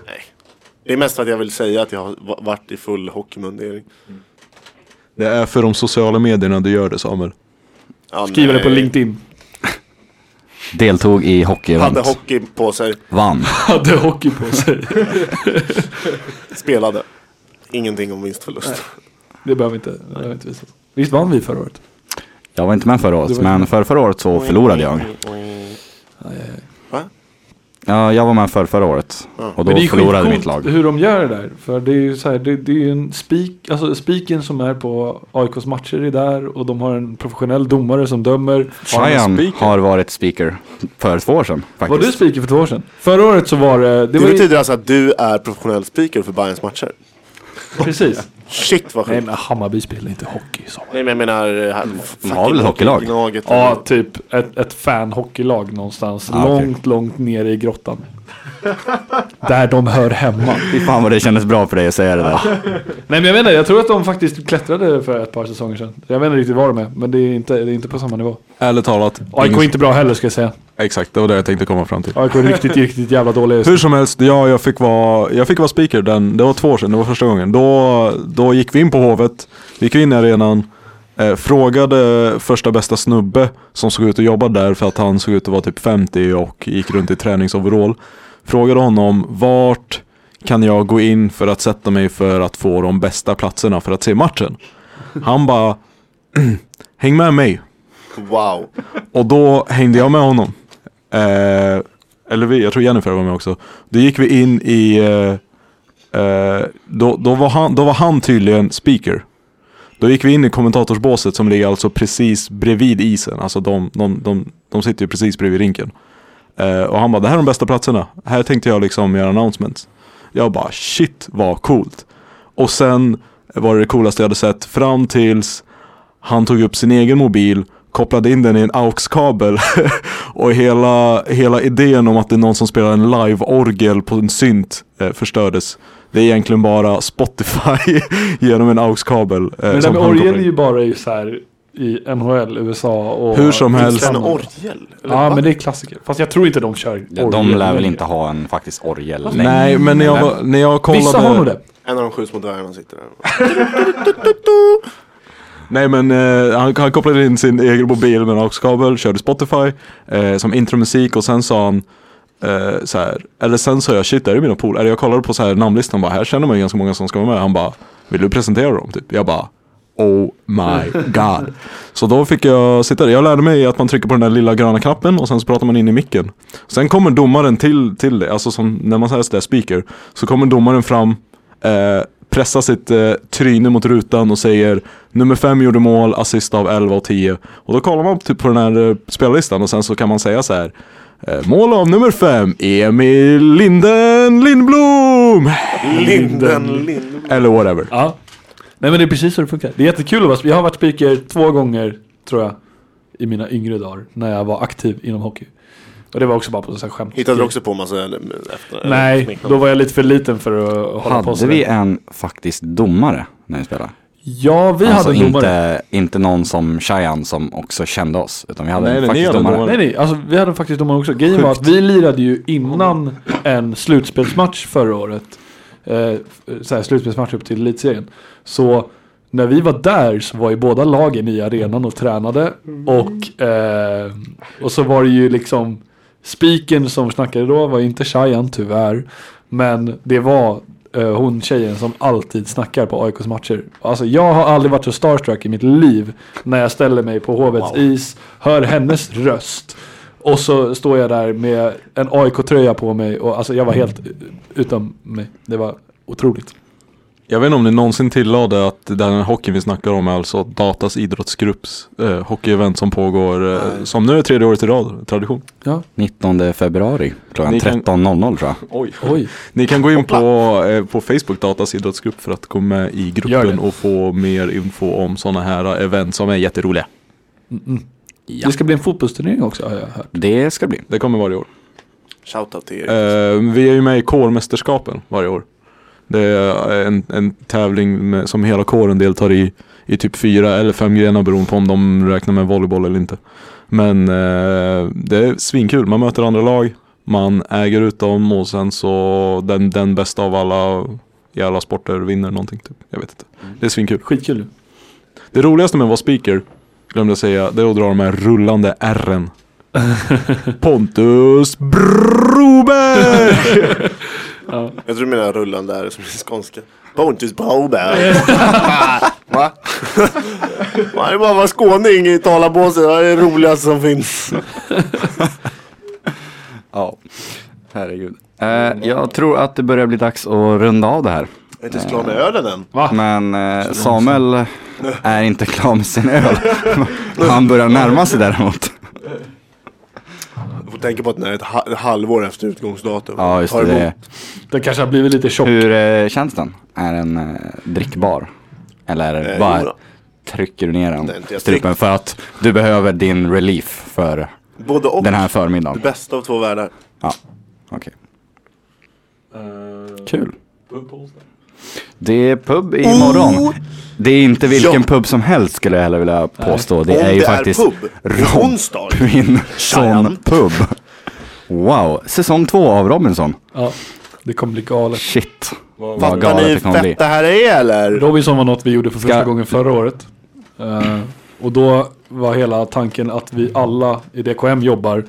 [SPEAKER 5] Nej. Det är mest för att jag vill säga att jag har va- varit i full hockeymundering.
[SPEAKER 4] Det är för de sociala medierna du gör det Samuel.
[SPEAKER 5] Ja,
[SPEAKER 3] Skriver det
[SPEAKER 5] nej.
[SPEAKER 3] på LinkedIn.
[SPEAKER 2] Deltog i
[SPEAKER 5] Hade
[SPEAKER 2] hockeyevent.
[SPEAKER 5] hockey på sig,
[SPEAKER 2] Vann.
[SPEAKER 3] [LAUGHS] Hade hockey på sig.
[SPEAKER 5] spelade. Ingenting om vinstförlust.
[SPEAKER 3] Det behöver inte, det behöver inte visas. Visst vann vi förra året?
[SPEAKER 2] Jag var inte med förra
[SPEAKER 3] Du
[SPEAKER 2] året
[SPEAKER 3] var inte
[SPEAKER 2] men
[SPEAKER 3] med.
[SPEAKER 2] för förra året så förlorade jag.
[SPEAKER 5] Va?
[SPEAKER 2] Ja, jag var med för förra året
[SPEAKER 5] Ja.
[SPEAKER 2] och då
[SPEAKER 3] ju
[SPEAKER 2] förlorade
[SPEAKER 3] skitcoolt
[SPEAKER 2] mitt lag.
[SPEAKER 3] hur de gör det där. För det är ju så här, det, det är ju en spik, alltså spiken som är på AIKs matcher är där och de har en professionell domare som dömer.
[SPEAKER 2] Tryon
[SPEAKER 4] speaker?
[SPEAKER 2] har varit speaker för två år sedan faktiskt.
[SPEAKER 3] Var du speaker för två år sedan? Förra året så var det, det
[SPEAKER 5] Det,
[SPEAKER 3] var ju,
[SPEAKER 5] betyder alltså att du är professionell speaker för Bayerns matcher?
[SPEAKER 3] precis.
[SPEAKER 5] Shit vad
[SPEAKER 3] Nej
[SPEAKER 5] sjukt.
[SPEAKER 3] men Hammarby spelar inte hockey så.
[SPEAKER 5] Nej men jag menar... eh,
[SPEAKER 2] De har väl ett hockeylag?
[SPEAKER 5] Gnaget eller-
[SPEAKER 3] Ja, typ ett, ett fanhockeylag någonstans.
[SPEAKER 2] Ah, okej.
[SPEAKER 3] långt, långt nere i grottan. där de hör hemma.
[SPEAKER 2] Fy fan vad det kändes bra för dig att säga det där.
[SPEAKER 3] Nej men jag vet inte, jag tror att de faktiskt klättrade för ett par säsonger sedan. Jag vet inte riktigt vad de är, men det är inte, det är inte på samma nivå.
[SPEAKER 4] Ärligt talat.
[SPEAKER 3] AIK är
[SPEAKER 4] ingen-
[SPEAKER 3] inte bra heller ska jag säga.
[SPEAKER 4] Exakt, det var det jag tänkte komma fram till.
[SPEAKER 3] AIK är [LAUGHS] riktigt, riktigt jävla dåliga just nu.
[SPEAKER 4] Hur som helst, ja, jag, fick vara, jag fick vara speaker, den, det var två år sedan, det var första gången. Då, då gick vi in på Hovet, vi gick in i arenan, eh, frågade första bästa snubbe som såg ut att jobba där för att han såg ut att vara typ 50 och gick runt i träningsoverall. Frågade honom vart kan jag gå in för att sätta mig för att få de bästa platserna för att se matchen? Han bara, [CLEARS THROAT] häng med mig.
[SPEAKER 5] Wow.
[SPEAKER 4] Och då hängde jag med honom. Eh, eller vi, jag tror Jennifer var med också. Då gick vi in i... Eh, eh, då, då, var han, då var han tydligen speaker. Då gick vi in i kommentatorsbåset som ligger alltså precis bredvid isen. Alltså de, de, de, de sitter ju precis bredvid rinken. Eh, och han bara, det här är de bästa platserna. Här tänkte jag liksom göra announcements. Jag bara, shit vad coolt. Och sen var det det coolaste jag hade sett fram tills han tog upp sin egen mobil, kopplade in den i en aux-kabel [LAUGHS] och hela, hela idén om att det är någon som spelar en live-orgel på en synt eh, förstördes. Det är egentligen bara Spotify [LAUGHS] genom en aux-kabel. Eh,
[SPEAKER 3] Men den
[SPEAKER 4] som
[SPEAKER 3] med
[SPEAKER 4] han
[SPEAKER 3] orgel
[SPEAKER 4] kopplar
[SPEAKER 3] är
[SPEAKER 4] in.
[SPEAKER 3] ju bara i så här i NHL, USA och...
[SPEAKER 4] Hur som helst.
[SPEAKER 5] En
[SPEAKER 3] Finland.
[SPEAKER 5] orgel? Eller
[SPEAKER 3] Ja
[SPEAKER 5] va?
[SPEAKER 3] men det är klassiker. Fast jag tror inte de kör
[SPEAKER 2] De
[SPEAKER 3] orgel
[SPEAKER 2] lär väl
[SPEAKER 3] längre.
[SPEAKER 2] inte ha en faktisk orgel längre.
[SPEAKER 4] Nej, men när jag, var- när jag kollade...
[SPEAKER 3] Vissa har nog det.
[SPEAKER 5] En av de sju små dvärgarna sitter där.
[SPEAKER 4] Nej men eh, han, han kopplade in sin egen mobil med en aux-kabel, körde Spotify eh, som intromusik och sen sa han eh, så här, eller sen sa jag shit där är mina polare, eller jag kollade på så här namnlistan bara här känner man ju ganska många som ska vara med, han bara vill du presentera dem typ? Jag bara Oh my god. Så då fick jag sitta där. Jag lärde mig att man trycker på den där lilla gröna knappen och sen så pratar man in i micken. Sen kommer domaren till, till det, alltså som när man säger sådär speaker, så kommer domaren fram eh, pressar sitt eh, tryne mot rutan och säger nummer fem gjorde mål, assist av 11 och 10. Och då kollar man typ på den här eh, spellistan och sen så kan man säga så här. Eh, mål av nummer fem, Emil Linden Lindblom!
[SPEAKER 5] Linden, Linden.
[SPEAKER 4] Eller whatever.
[SPEAKER 3] Ja. Nej men det är precis så det funkar. Det är jättekul att vara Jag har varit speaker två gånger, tror jag, i mina yngre dagar. När jag var aktiv inom hockey. Och det var också bara på så här skämt.
[SPEAKER 5] Hittade du också på massa eller, efter? eller
[SPEAKER 3] Nej,
[SPEAKER 5] smeknamn?
[SPEAKER 3] då var jag lite för liten för att hålla på
[SPEAKER 2] Hade
[SPEAKER 3] sådär.
[SPEAKER 2] vi en faktisk domare när vi spelade?
[SPEAKER 3] Ja, vi
[SPEAKER 2] alltså
[SPEAKER 3] hade en domare.
[SPEAKER 2] inte, inte någon som Cheyenne som också kände oss. Utan vi hade
[SPEAKER 4] Nej,
[SPEAKER 2] en
[SPEAKER 4] nej, ni
[SPEAKER 2] faktisk
[SPEAKER 4] hade en
[SPEAKER 2] domare.
[SPEAKER 4] domare.
[SPEAKER 3] Nej nej, alltså vi hade faktiskt domare också. Grejen var att vi lirade ju innan en slutspelsmatch förra året. Eh, så här, slutspelsmatch upp till elitserien. Så när vi var där så var ju båda lagen i arenan och tränade. Och, eh, och så var det ju liksom spiken som snackade då var inte Shayan tyvärr. Men det var eh, hon tjejen som alltid snackar på AIKs matcher. Alltså jag har aldrig varit så starstruck i mitt liv när jag ställer mig på Hovets is, hör hennes röst. Och så står jag där med en AIK-tröja på mig och alltså jag var helt utom mig. Det var otroligt.
[SPEAKER 4] Jag vet inte om ni någonsin tillade att den hockeyn vi snackar om är alltså Datas idrottsgrupps eh, hockeyevent som pågår, eh, som nu är tredje året i rad, tradition.
[SPEAKER 3] Ja,
[SPEAKER 2] 19 februari klockan
[SPEAKER 4] Ni kan-
[SPEAKER 2] 13.00 tror jag.
[SPEAKER 4] Oj.
[SPEAKER 3] oj.
[SPEAKER 4] Ni kan gå in på, eh, på Facebook, Datas idrottsgrupp, för att gå med i
[SPEAKER 3] Gör
[SPEAKER 4] gruppen
[SPEAKER 3] det.
[SPEAKER 4] och få mer info om sådana här event som är jätteroliga.
[SPEAKER 3] Det ska bli en fotbollsturnering också har jag hört.
[SPEAKER 2] Det ska bli.
[SPEAKER 4] Det kommer varje år.
[SPEAKER 5] Shoutout till er.
[SPEAKER 4] Eh, vi är ju med i kårmästerskapen varje år. Det är en, en tävling med, som hela kåren deltar i, i typ fyra eller fem grenar beroende på om de räknar med volleyboll eller inte. Men eh, det är svinkul, man möter andra lag, man äger ut dem och sen så den, den bästa av alla i alla sporter vinner någonting. Typ. Jag vet inte. Det är svinkul.
[SPEAKER 3] Skitkul.
[SPEAKER 4] Det roligaste med att vara speaker, glömde jag säga, det är att dra de här rullande R'en. Pontus Broberg!
[SPEAKER 5] Jag tror du menar rullande är som är skånska.
[SPEAKER 2] [LAUGHS]
[SPEAKER 5] Pontus Broberg. Va? Man är bara att vara skåning i talarpåsen. Det är det roligaste som finns.
[SPEAKER 2] Ja, herregud. Eh, jag tror att det börjar bli dags att runda av det här.
[SPEAKER 5] Jag är inte ens klar med ölen än.
[SPEAKER 2] Men eh, [LAUGHS] Samuel är inte klar med sin [LAUGHS] öl. Han börjar närma sig däremot.
[SPEAKER 5] Du får tänka på att den är ett ha- halvår efter utgångsdatum.
[SPEAKER 2] Ja, just
[SPEAKER 5] Ta emot.
[SPEAKER 2] det.
[SPEAKER 3] Den kanske har blivit lite tjock.
[SPEAKER 2] Hur eh, känns den? Är den eh, drickbar? Eller är det
[SPEAKER 5] Eh,
[SPEAKER 2] bara
[SPEAKER 5] jodå.
[SPEAKER 2] trycker du ner den
[SPEAKER 5] är inte jag
[SPEAKER 2] strupen för att du behöver din relief för
[SPEAKER 5] Både och.
[SPEAKER 2] den här
[SPEAKER 5] Det
[SPEAKER 2] förmiddagen?
[SPEAKER 5] bästa av två världar.
[SPEAKER 2] Ja, okej. Kul. Det är pub imorgon. Det är inte vilken
[SPEAKER 5] Oh! Ja.
[SPEAKER 2] pub som helst skulle jag heller vilja påstå. Det
[SPEAKER 5] Om
[SPEAKER 2] är ju
[SPEAKER 5] det är
[SPEAKER 2] faktiskt
[SPEAKER 5] pub,
[SPEAKER 2] [LAUGHS]
[SPEAKER 5] på onsdag.
[SPEAKER 2] Robinson
[SPEAKER 5] Tjajan.
[SPEAKER 2] pub. Wow, säsong två av Robinson.
[SPEAKER 3] Ja, det kommer bli galet.
[SPEAKER 2] Shit, vad,
[SPEAKER 5] Fattar
[SPEAKER 2] galet
[SPEAKER 5] ni
[SPEAKER 2] det
[SPEAKER 5] hur
[SPEAKER 2] kommer bli.
[SPEAKER 5] fett det här är eller?
[SPEAKER 3] Robinson var något vi gjorde för första
[SPEAKER 2] Ska-
[SPEAKER 3] gången förra året. Eh, och då var hela tanken att vi alla i DKM jobbar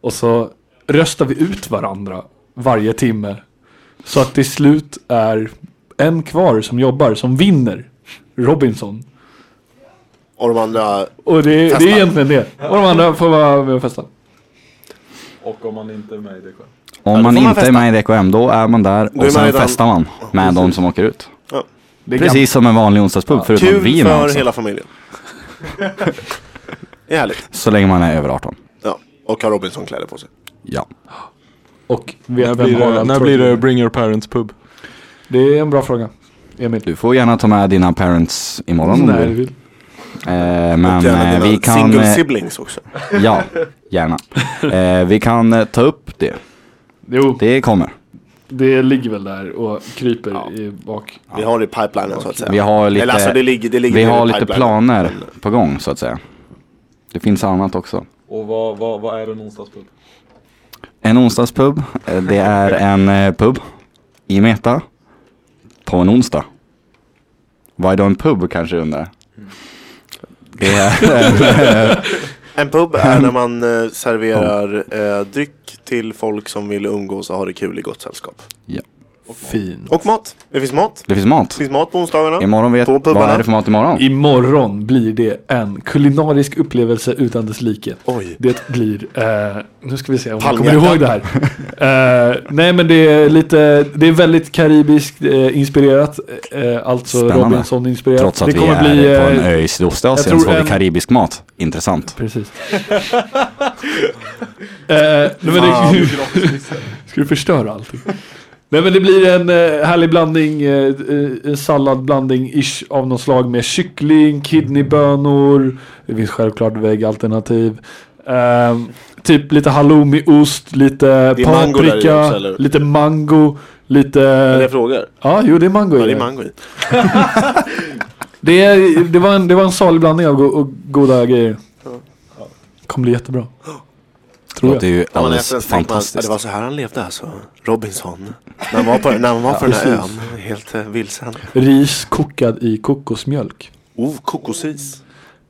[SPEAKER 3] och så röstar vi ut varandra varje timme. Så att till slut är en kvar som jobbar som vinner Robinson.
[SPEAKER 5] Och de andra
[SPEAKER 3] Och det, det
[SPEAKER 5] Festa.
[SPEAKER 3] är egentligen det. Och de andra får vara med och festa.
[SPEAKER 4] Och om man inte är med i det själv.
[SPEAKER 2] Om man
[SPEAKER 5] får man
[SPEAKER 2] inte är
[SPEAKER 5] festa.
[SPEAKER 2] med i DKM då är man där
[SPEAKER 5] är
[SPEAKER 2] och sen
[SPEAKER 5] man redan-
[SPEAKER 2] festar man med de som åker ut.
[SPEAKER 5] Ja.
[SPEAKER 3] Det är
[SPEAKER 2] Precis som en vanlig onsdagspub förutom
[SPEAKER 5] Kul
[SPEAKER 2] vin
[SPEAKER 5] för
[SPEAKER 2] också.
[SPEAKER 5] hela familjen. Det är härligt.
[SPEAKER 2] Så länge man är över 18.
[SPEAKER 5] Ja. Och har Robinson-kläder på sig.
[SPEAKER 2] Ja.
[SPEAKER 3] Och vet
[SPEAKER 4] När
[SPEAKER 3] vem
[SPEAKER 4] blir, det,
[SPEAKER 3] Harald
[SPEAKER 4] när
[SPEAKER 3] tror du
[SPEAKER 4] blir det
[SPEAKER 3] vinner?
[SPEAKER 4] Bring Your Parents Pub?
[SPEAKER 3] Det är en bra fråga. Emil.
[SPEAKER 2] Du får gärna ta med dina parents imorgon om du
[SPEAKER 3] Nej,
[SPEAKER 2] vill.
[SPEAKER 3] du vill.
[SPEAKER 2] Eh, men
[SPEAKER 5] och
[SPEAKER 2] eh,
[SPEAKER 5] gärna dina
[SPEAKER 2] vi kan...
[SPEAKER 5] single
[SPEAKER 2] eh,
[SPEAKER 5] siblings också.
[SPEAKER 2] Ja,
[SPEAKER 5] [LAUGHS]
[SPEAKER 2] gärna. Eh, vi kan eh, ta upp det.
[SPEAKER 3] Jo,
[SPEAKER 2] Det kommer.
[SPEAKER 3] det ligger väl där och kryper i bak.
[SPEAKER 5] Vi har det i pipelinen så att säga.
[SPEAKER 2] Vi har lite,
[SPEAKER 5] Eller alltså det ligger, det ligger
[SPEAKER 2] vi
[SPEAKER 5] i
[SPEAKER 2] har lite
[SPEAKER 5] pipelinen.
[SPEAKER 2] planer på gång så att säga. Det finns annat också.
[SPEAKER 4] Och vad, vad, vad är en onsdagspub?
[SPEAKER 2] En onsdagspub, eh, det är en eh, pub i Meta på en onsdag. Vad är då en pub kanske du undrar?
[SPEAKER 5] Mm.
[SPEAKER 2] Det är,
[SPEAKER 5] [LAUGHS]
[SPEAKER 2] [LAUGHS]
[SPEAKER 5] En pub är när man eh, serverar eh, dryck till folk som vill umgås och ha det kul i gott sällskap.
[SPEAKER 3] Fin.
[SPEAKER 5] Och mat. Det finns mat.
[SPEAKER 2] det finns mat.
[SPEAKER 5] Det finns mat på onsdagarna.
[SPEAKER 2] Imorgon vet,
[SPEAKER 5] På
[SPEAKER 2] vad
[SPEAKER 5] pubarna.
[SPEAKER 2] är det för mat imorgon?
[SPEAKER 3] Imorgon blir det en kulinarisk upplevelse utan dess like.
[SPEAKER 5] Oj.
[SPEAKER 3] Det blir, eh, nu ska vi se om jag kommer
[SPEAKER 5] Palmhjärta.
[SPEAKER 3] ihåg det här. Eh, nej men det är lite, det är väldigt karibiskt eh, inspirerat. Eh, alltså
[SPEAKER 2] Spännande.
[SPEAKER 3] Robinson inspirerat.
[SPEAKER 2] Trots att
[SPEAKER 3] det
[SPEAKER 2] vi är på en
[SPEAKER 3] eh,
[SPEAKER 2] ö i Sydostasien
[SPEAKER 3] jag
[SPEAKER 2] så
[SPEAKER 3] tror
[SPEAKER 2] har vi
[SPEAKER 3] en-
[SPEAKER 2] karibisk mat. Intressant.
[SPEAKER 3] Precis. eh, nej, men det, [LAUGHS] ska du förstöra allting? Nej men det blir en eh, härlig blandning, eh, eh, en salladblandning ish av något slag med kyckling, kidneybönor, det finns självklart väggalternativ. Ehm, typ lite halloumiost, lite
[SPEAKER 5] Det är mango där i
[SPEAKER 3] paprika,
[SPEAKER 5] också, eller?
[SPEAKER 3] lite mango, lite...
[SPEAKER 5] Eller jag frågar.
[SPEAKER 3] Ja, jo det är mango i
[SPEAKER 5] Ja, det är
[SPEAKER 3] det.
[SPEAKER 5] mango i.
[SPEAKER 3] Det, är, det, var en, det var en salig blandning av go och goda grejer. Kommer bli jättebra. Tror
[SPEAKER 2] Låter
[SPEAKER 3] jag.
[SPEAKER 2] ju
[SPEAKER 5] När man
[SPEAKER 2] alldeles
[SPEAKER 5] äter den så tänker man, ja,
[SPEAKER 2] fantastiskt.
[SPEAKER 5] det var så här han levde alltså. Robinson. När han var på, när han var på den här ön. Helt eh, vilsen.
[SPEAKER 3] Ris kokad i kokosmjölk.
[SPEAKER 5] Oh, kokosis.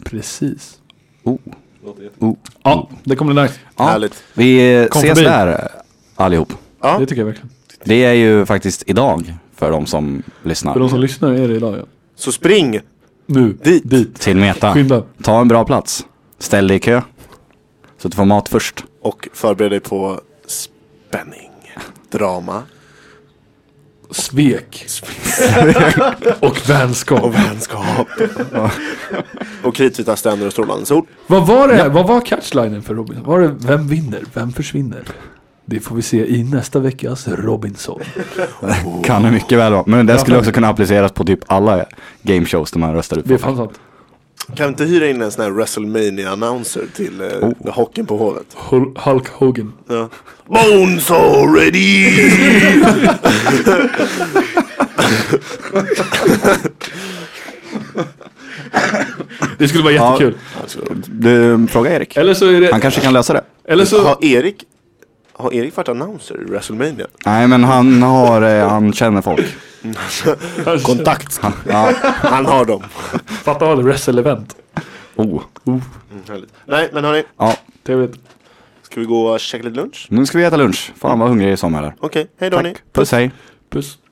[SPEAKER 3] Precis.
[SPEAKER 2] Oh. Oh.
[SPEAKER 3] Ja, det kommer bli nice.
[SPEAKER 2] Ja,
[SPEAKER 5] Härligt.
[SPEAKER 2] vi eh,
[SPEAKER 3] Kom
[SPEAKER 2] ses
[SPEAKER 3] förbi.
[SPEAKER 2] där allihop.
[SPEAKER 5] Ja.
[SPEAKER 3] Det tycker jag verkligen.
[SPEAKER 2] Det är ju faktiskt idag för de som lyssnar.
[SPEAKER 3] För de som lyssnar är det idag ja.
[SPEAKER 5] Så spring!
[SPEAKER 3] Nu,
[SPEAKER 5] Dit.
[SPEAKER 3] dit.
[SPEAKER 2] Till Meta.
[SPEAKER 3] Skynda.
[SPEAKER 2] Ta en bra plats. Ställ dig i kö. Så att du får mat först.
[SPEAKER 5] Och förbered dig på spänning, drama
[SPEAKER 3] Svek. [LAUGHS] Och vänskap.
[SPEAKER 2] [LAUGHS]
[SPEAKER 5] och vänskap. och kritvita ständer och storlandsord.
[SPEAKER 3] Vad var det? Vad var catchlinen för Robinson? Var det vem vinner? Vem försvinner? Det får vi se i nästa veckas Robinson.
[SPEAKER 2] Kan det mycket väl vara. Men det skulle också kunna appliceras på typ alla gameshows där man röstar ut
[SPEAKER 3] Det är
[SPEAKER 2] folk.
[SPEAKER 3] fan sant.
[SPEAKER 5] Kan vi inte hyra in en sån här WrestleMania-annonser till eh,
[SPEAKER 2] Oh.
[SPEAKER 5] hockeyn på Hovet?
[SPEAKER 3] Hul- Hulk Hogan.
[SPEAKER 5] Ja. Bones already!
[SPEAKER 3] Det skulle vara jättekul.
[SPEAKER 2] Du, fråga Erik.
[SPEAKER 3] Eller så är
[SPEAKER 2] Han
[SPEAKER 3] det...
[SPEAKER 2] kanske kan lösa det.
[SPEAKER 3] Eller så...
[SPEAKER 5] Har Erik, har Erik varit annonser i
[SPEAKER 2] [LAUGHS]
[SPEAKER 5] WrestleMania?
[SPEAKER 2] Nej men han har, eh, han känner folk.
[SPEAKER 5] Kontakt!
[SPEAKER 2] Han, ja.
[SPEAKER 5] Han har dem.
[SPEAKER 3] Fatta vad det wrestle-event.
[SPEAKER 2] oh.
[SPEAKER 5] Mm, härligt. Nej, men hörni.
[SPEAKER 2] ja.
[SPEAKER 3] Trevligt.
[SPEAKER 5] Ska vi gå och käka lite lunch?
[SPEAKER 2] Nu ska vi äta lunch. Fan vad hungrig jag är som här.
[SPEAKER 5] Okej, hej då hörni.
[SPEAKER 2] Tack. Puss hej.
[SPEAKER 3] Puss.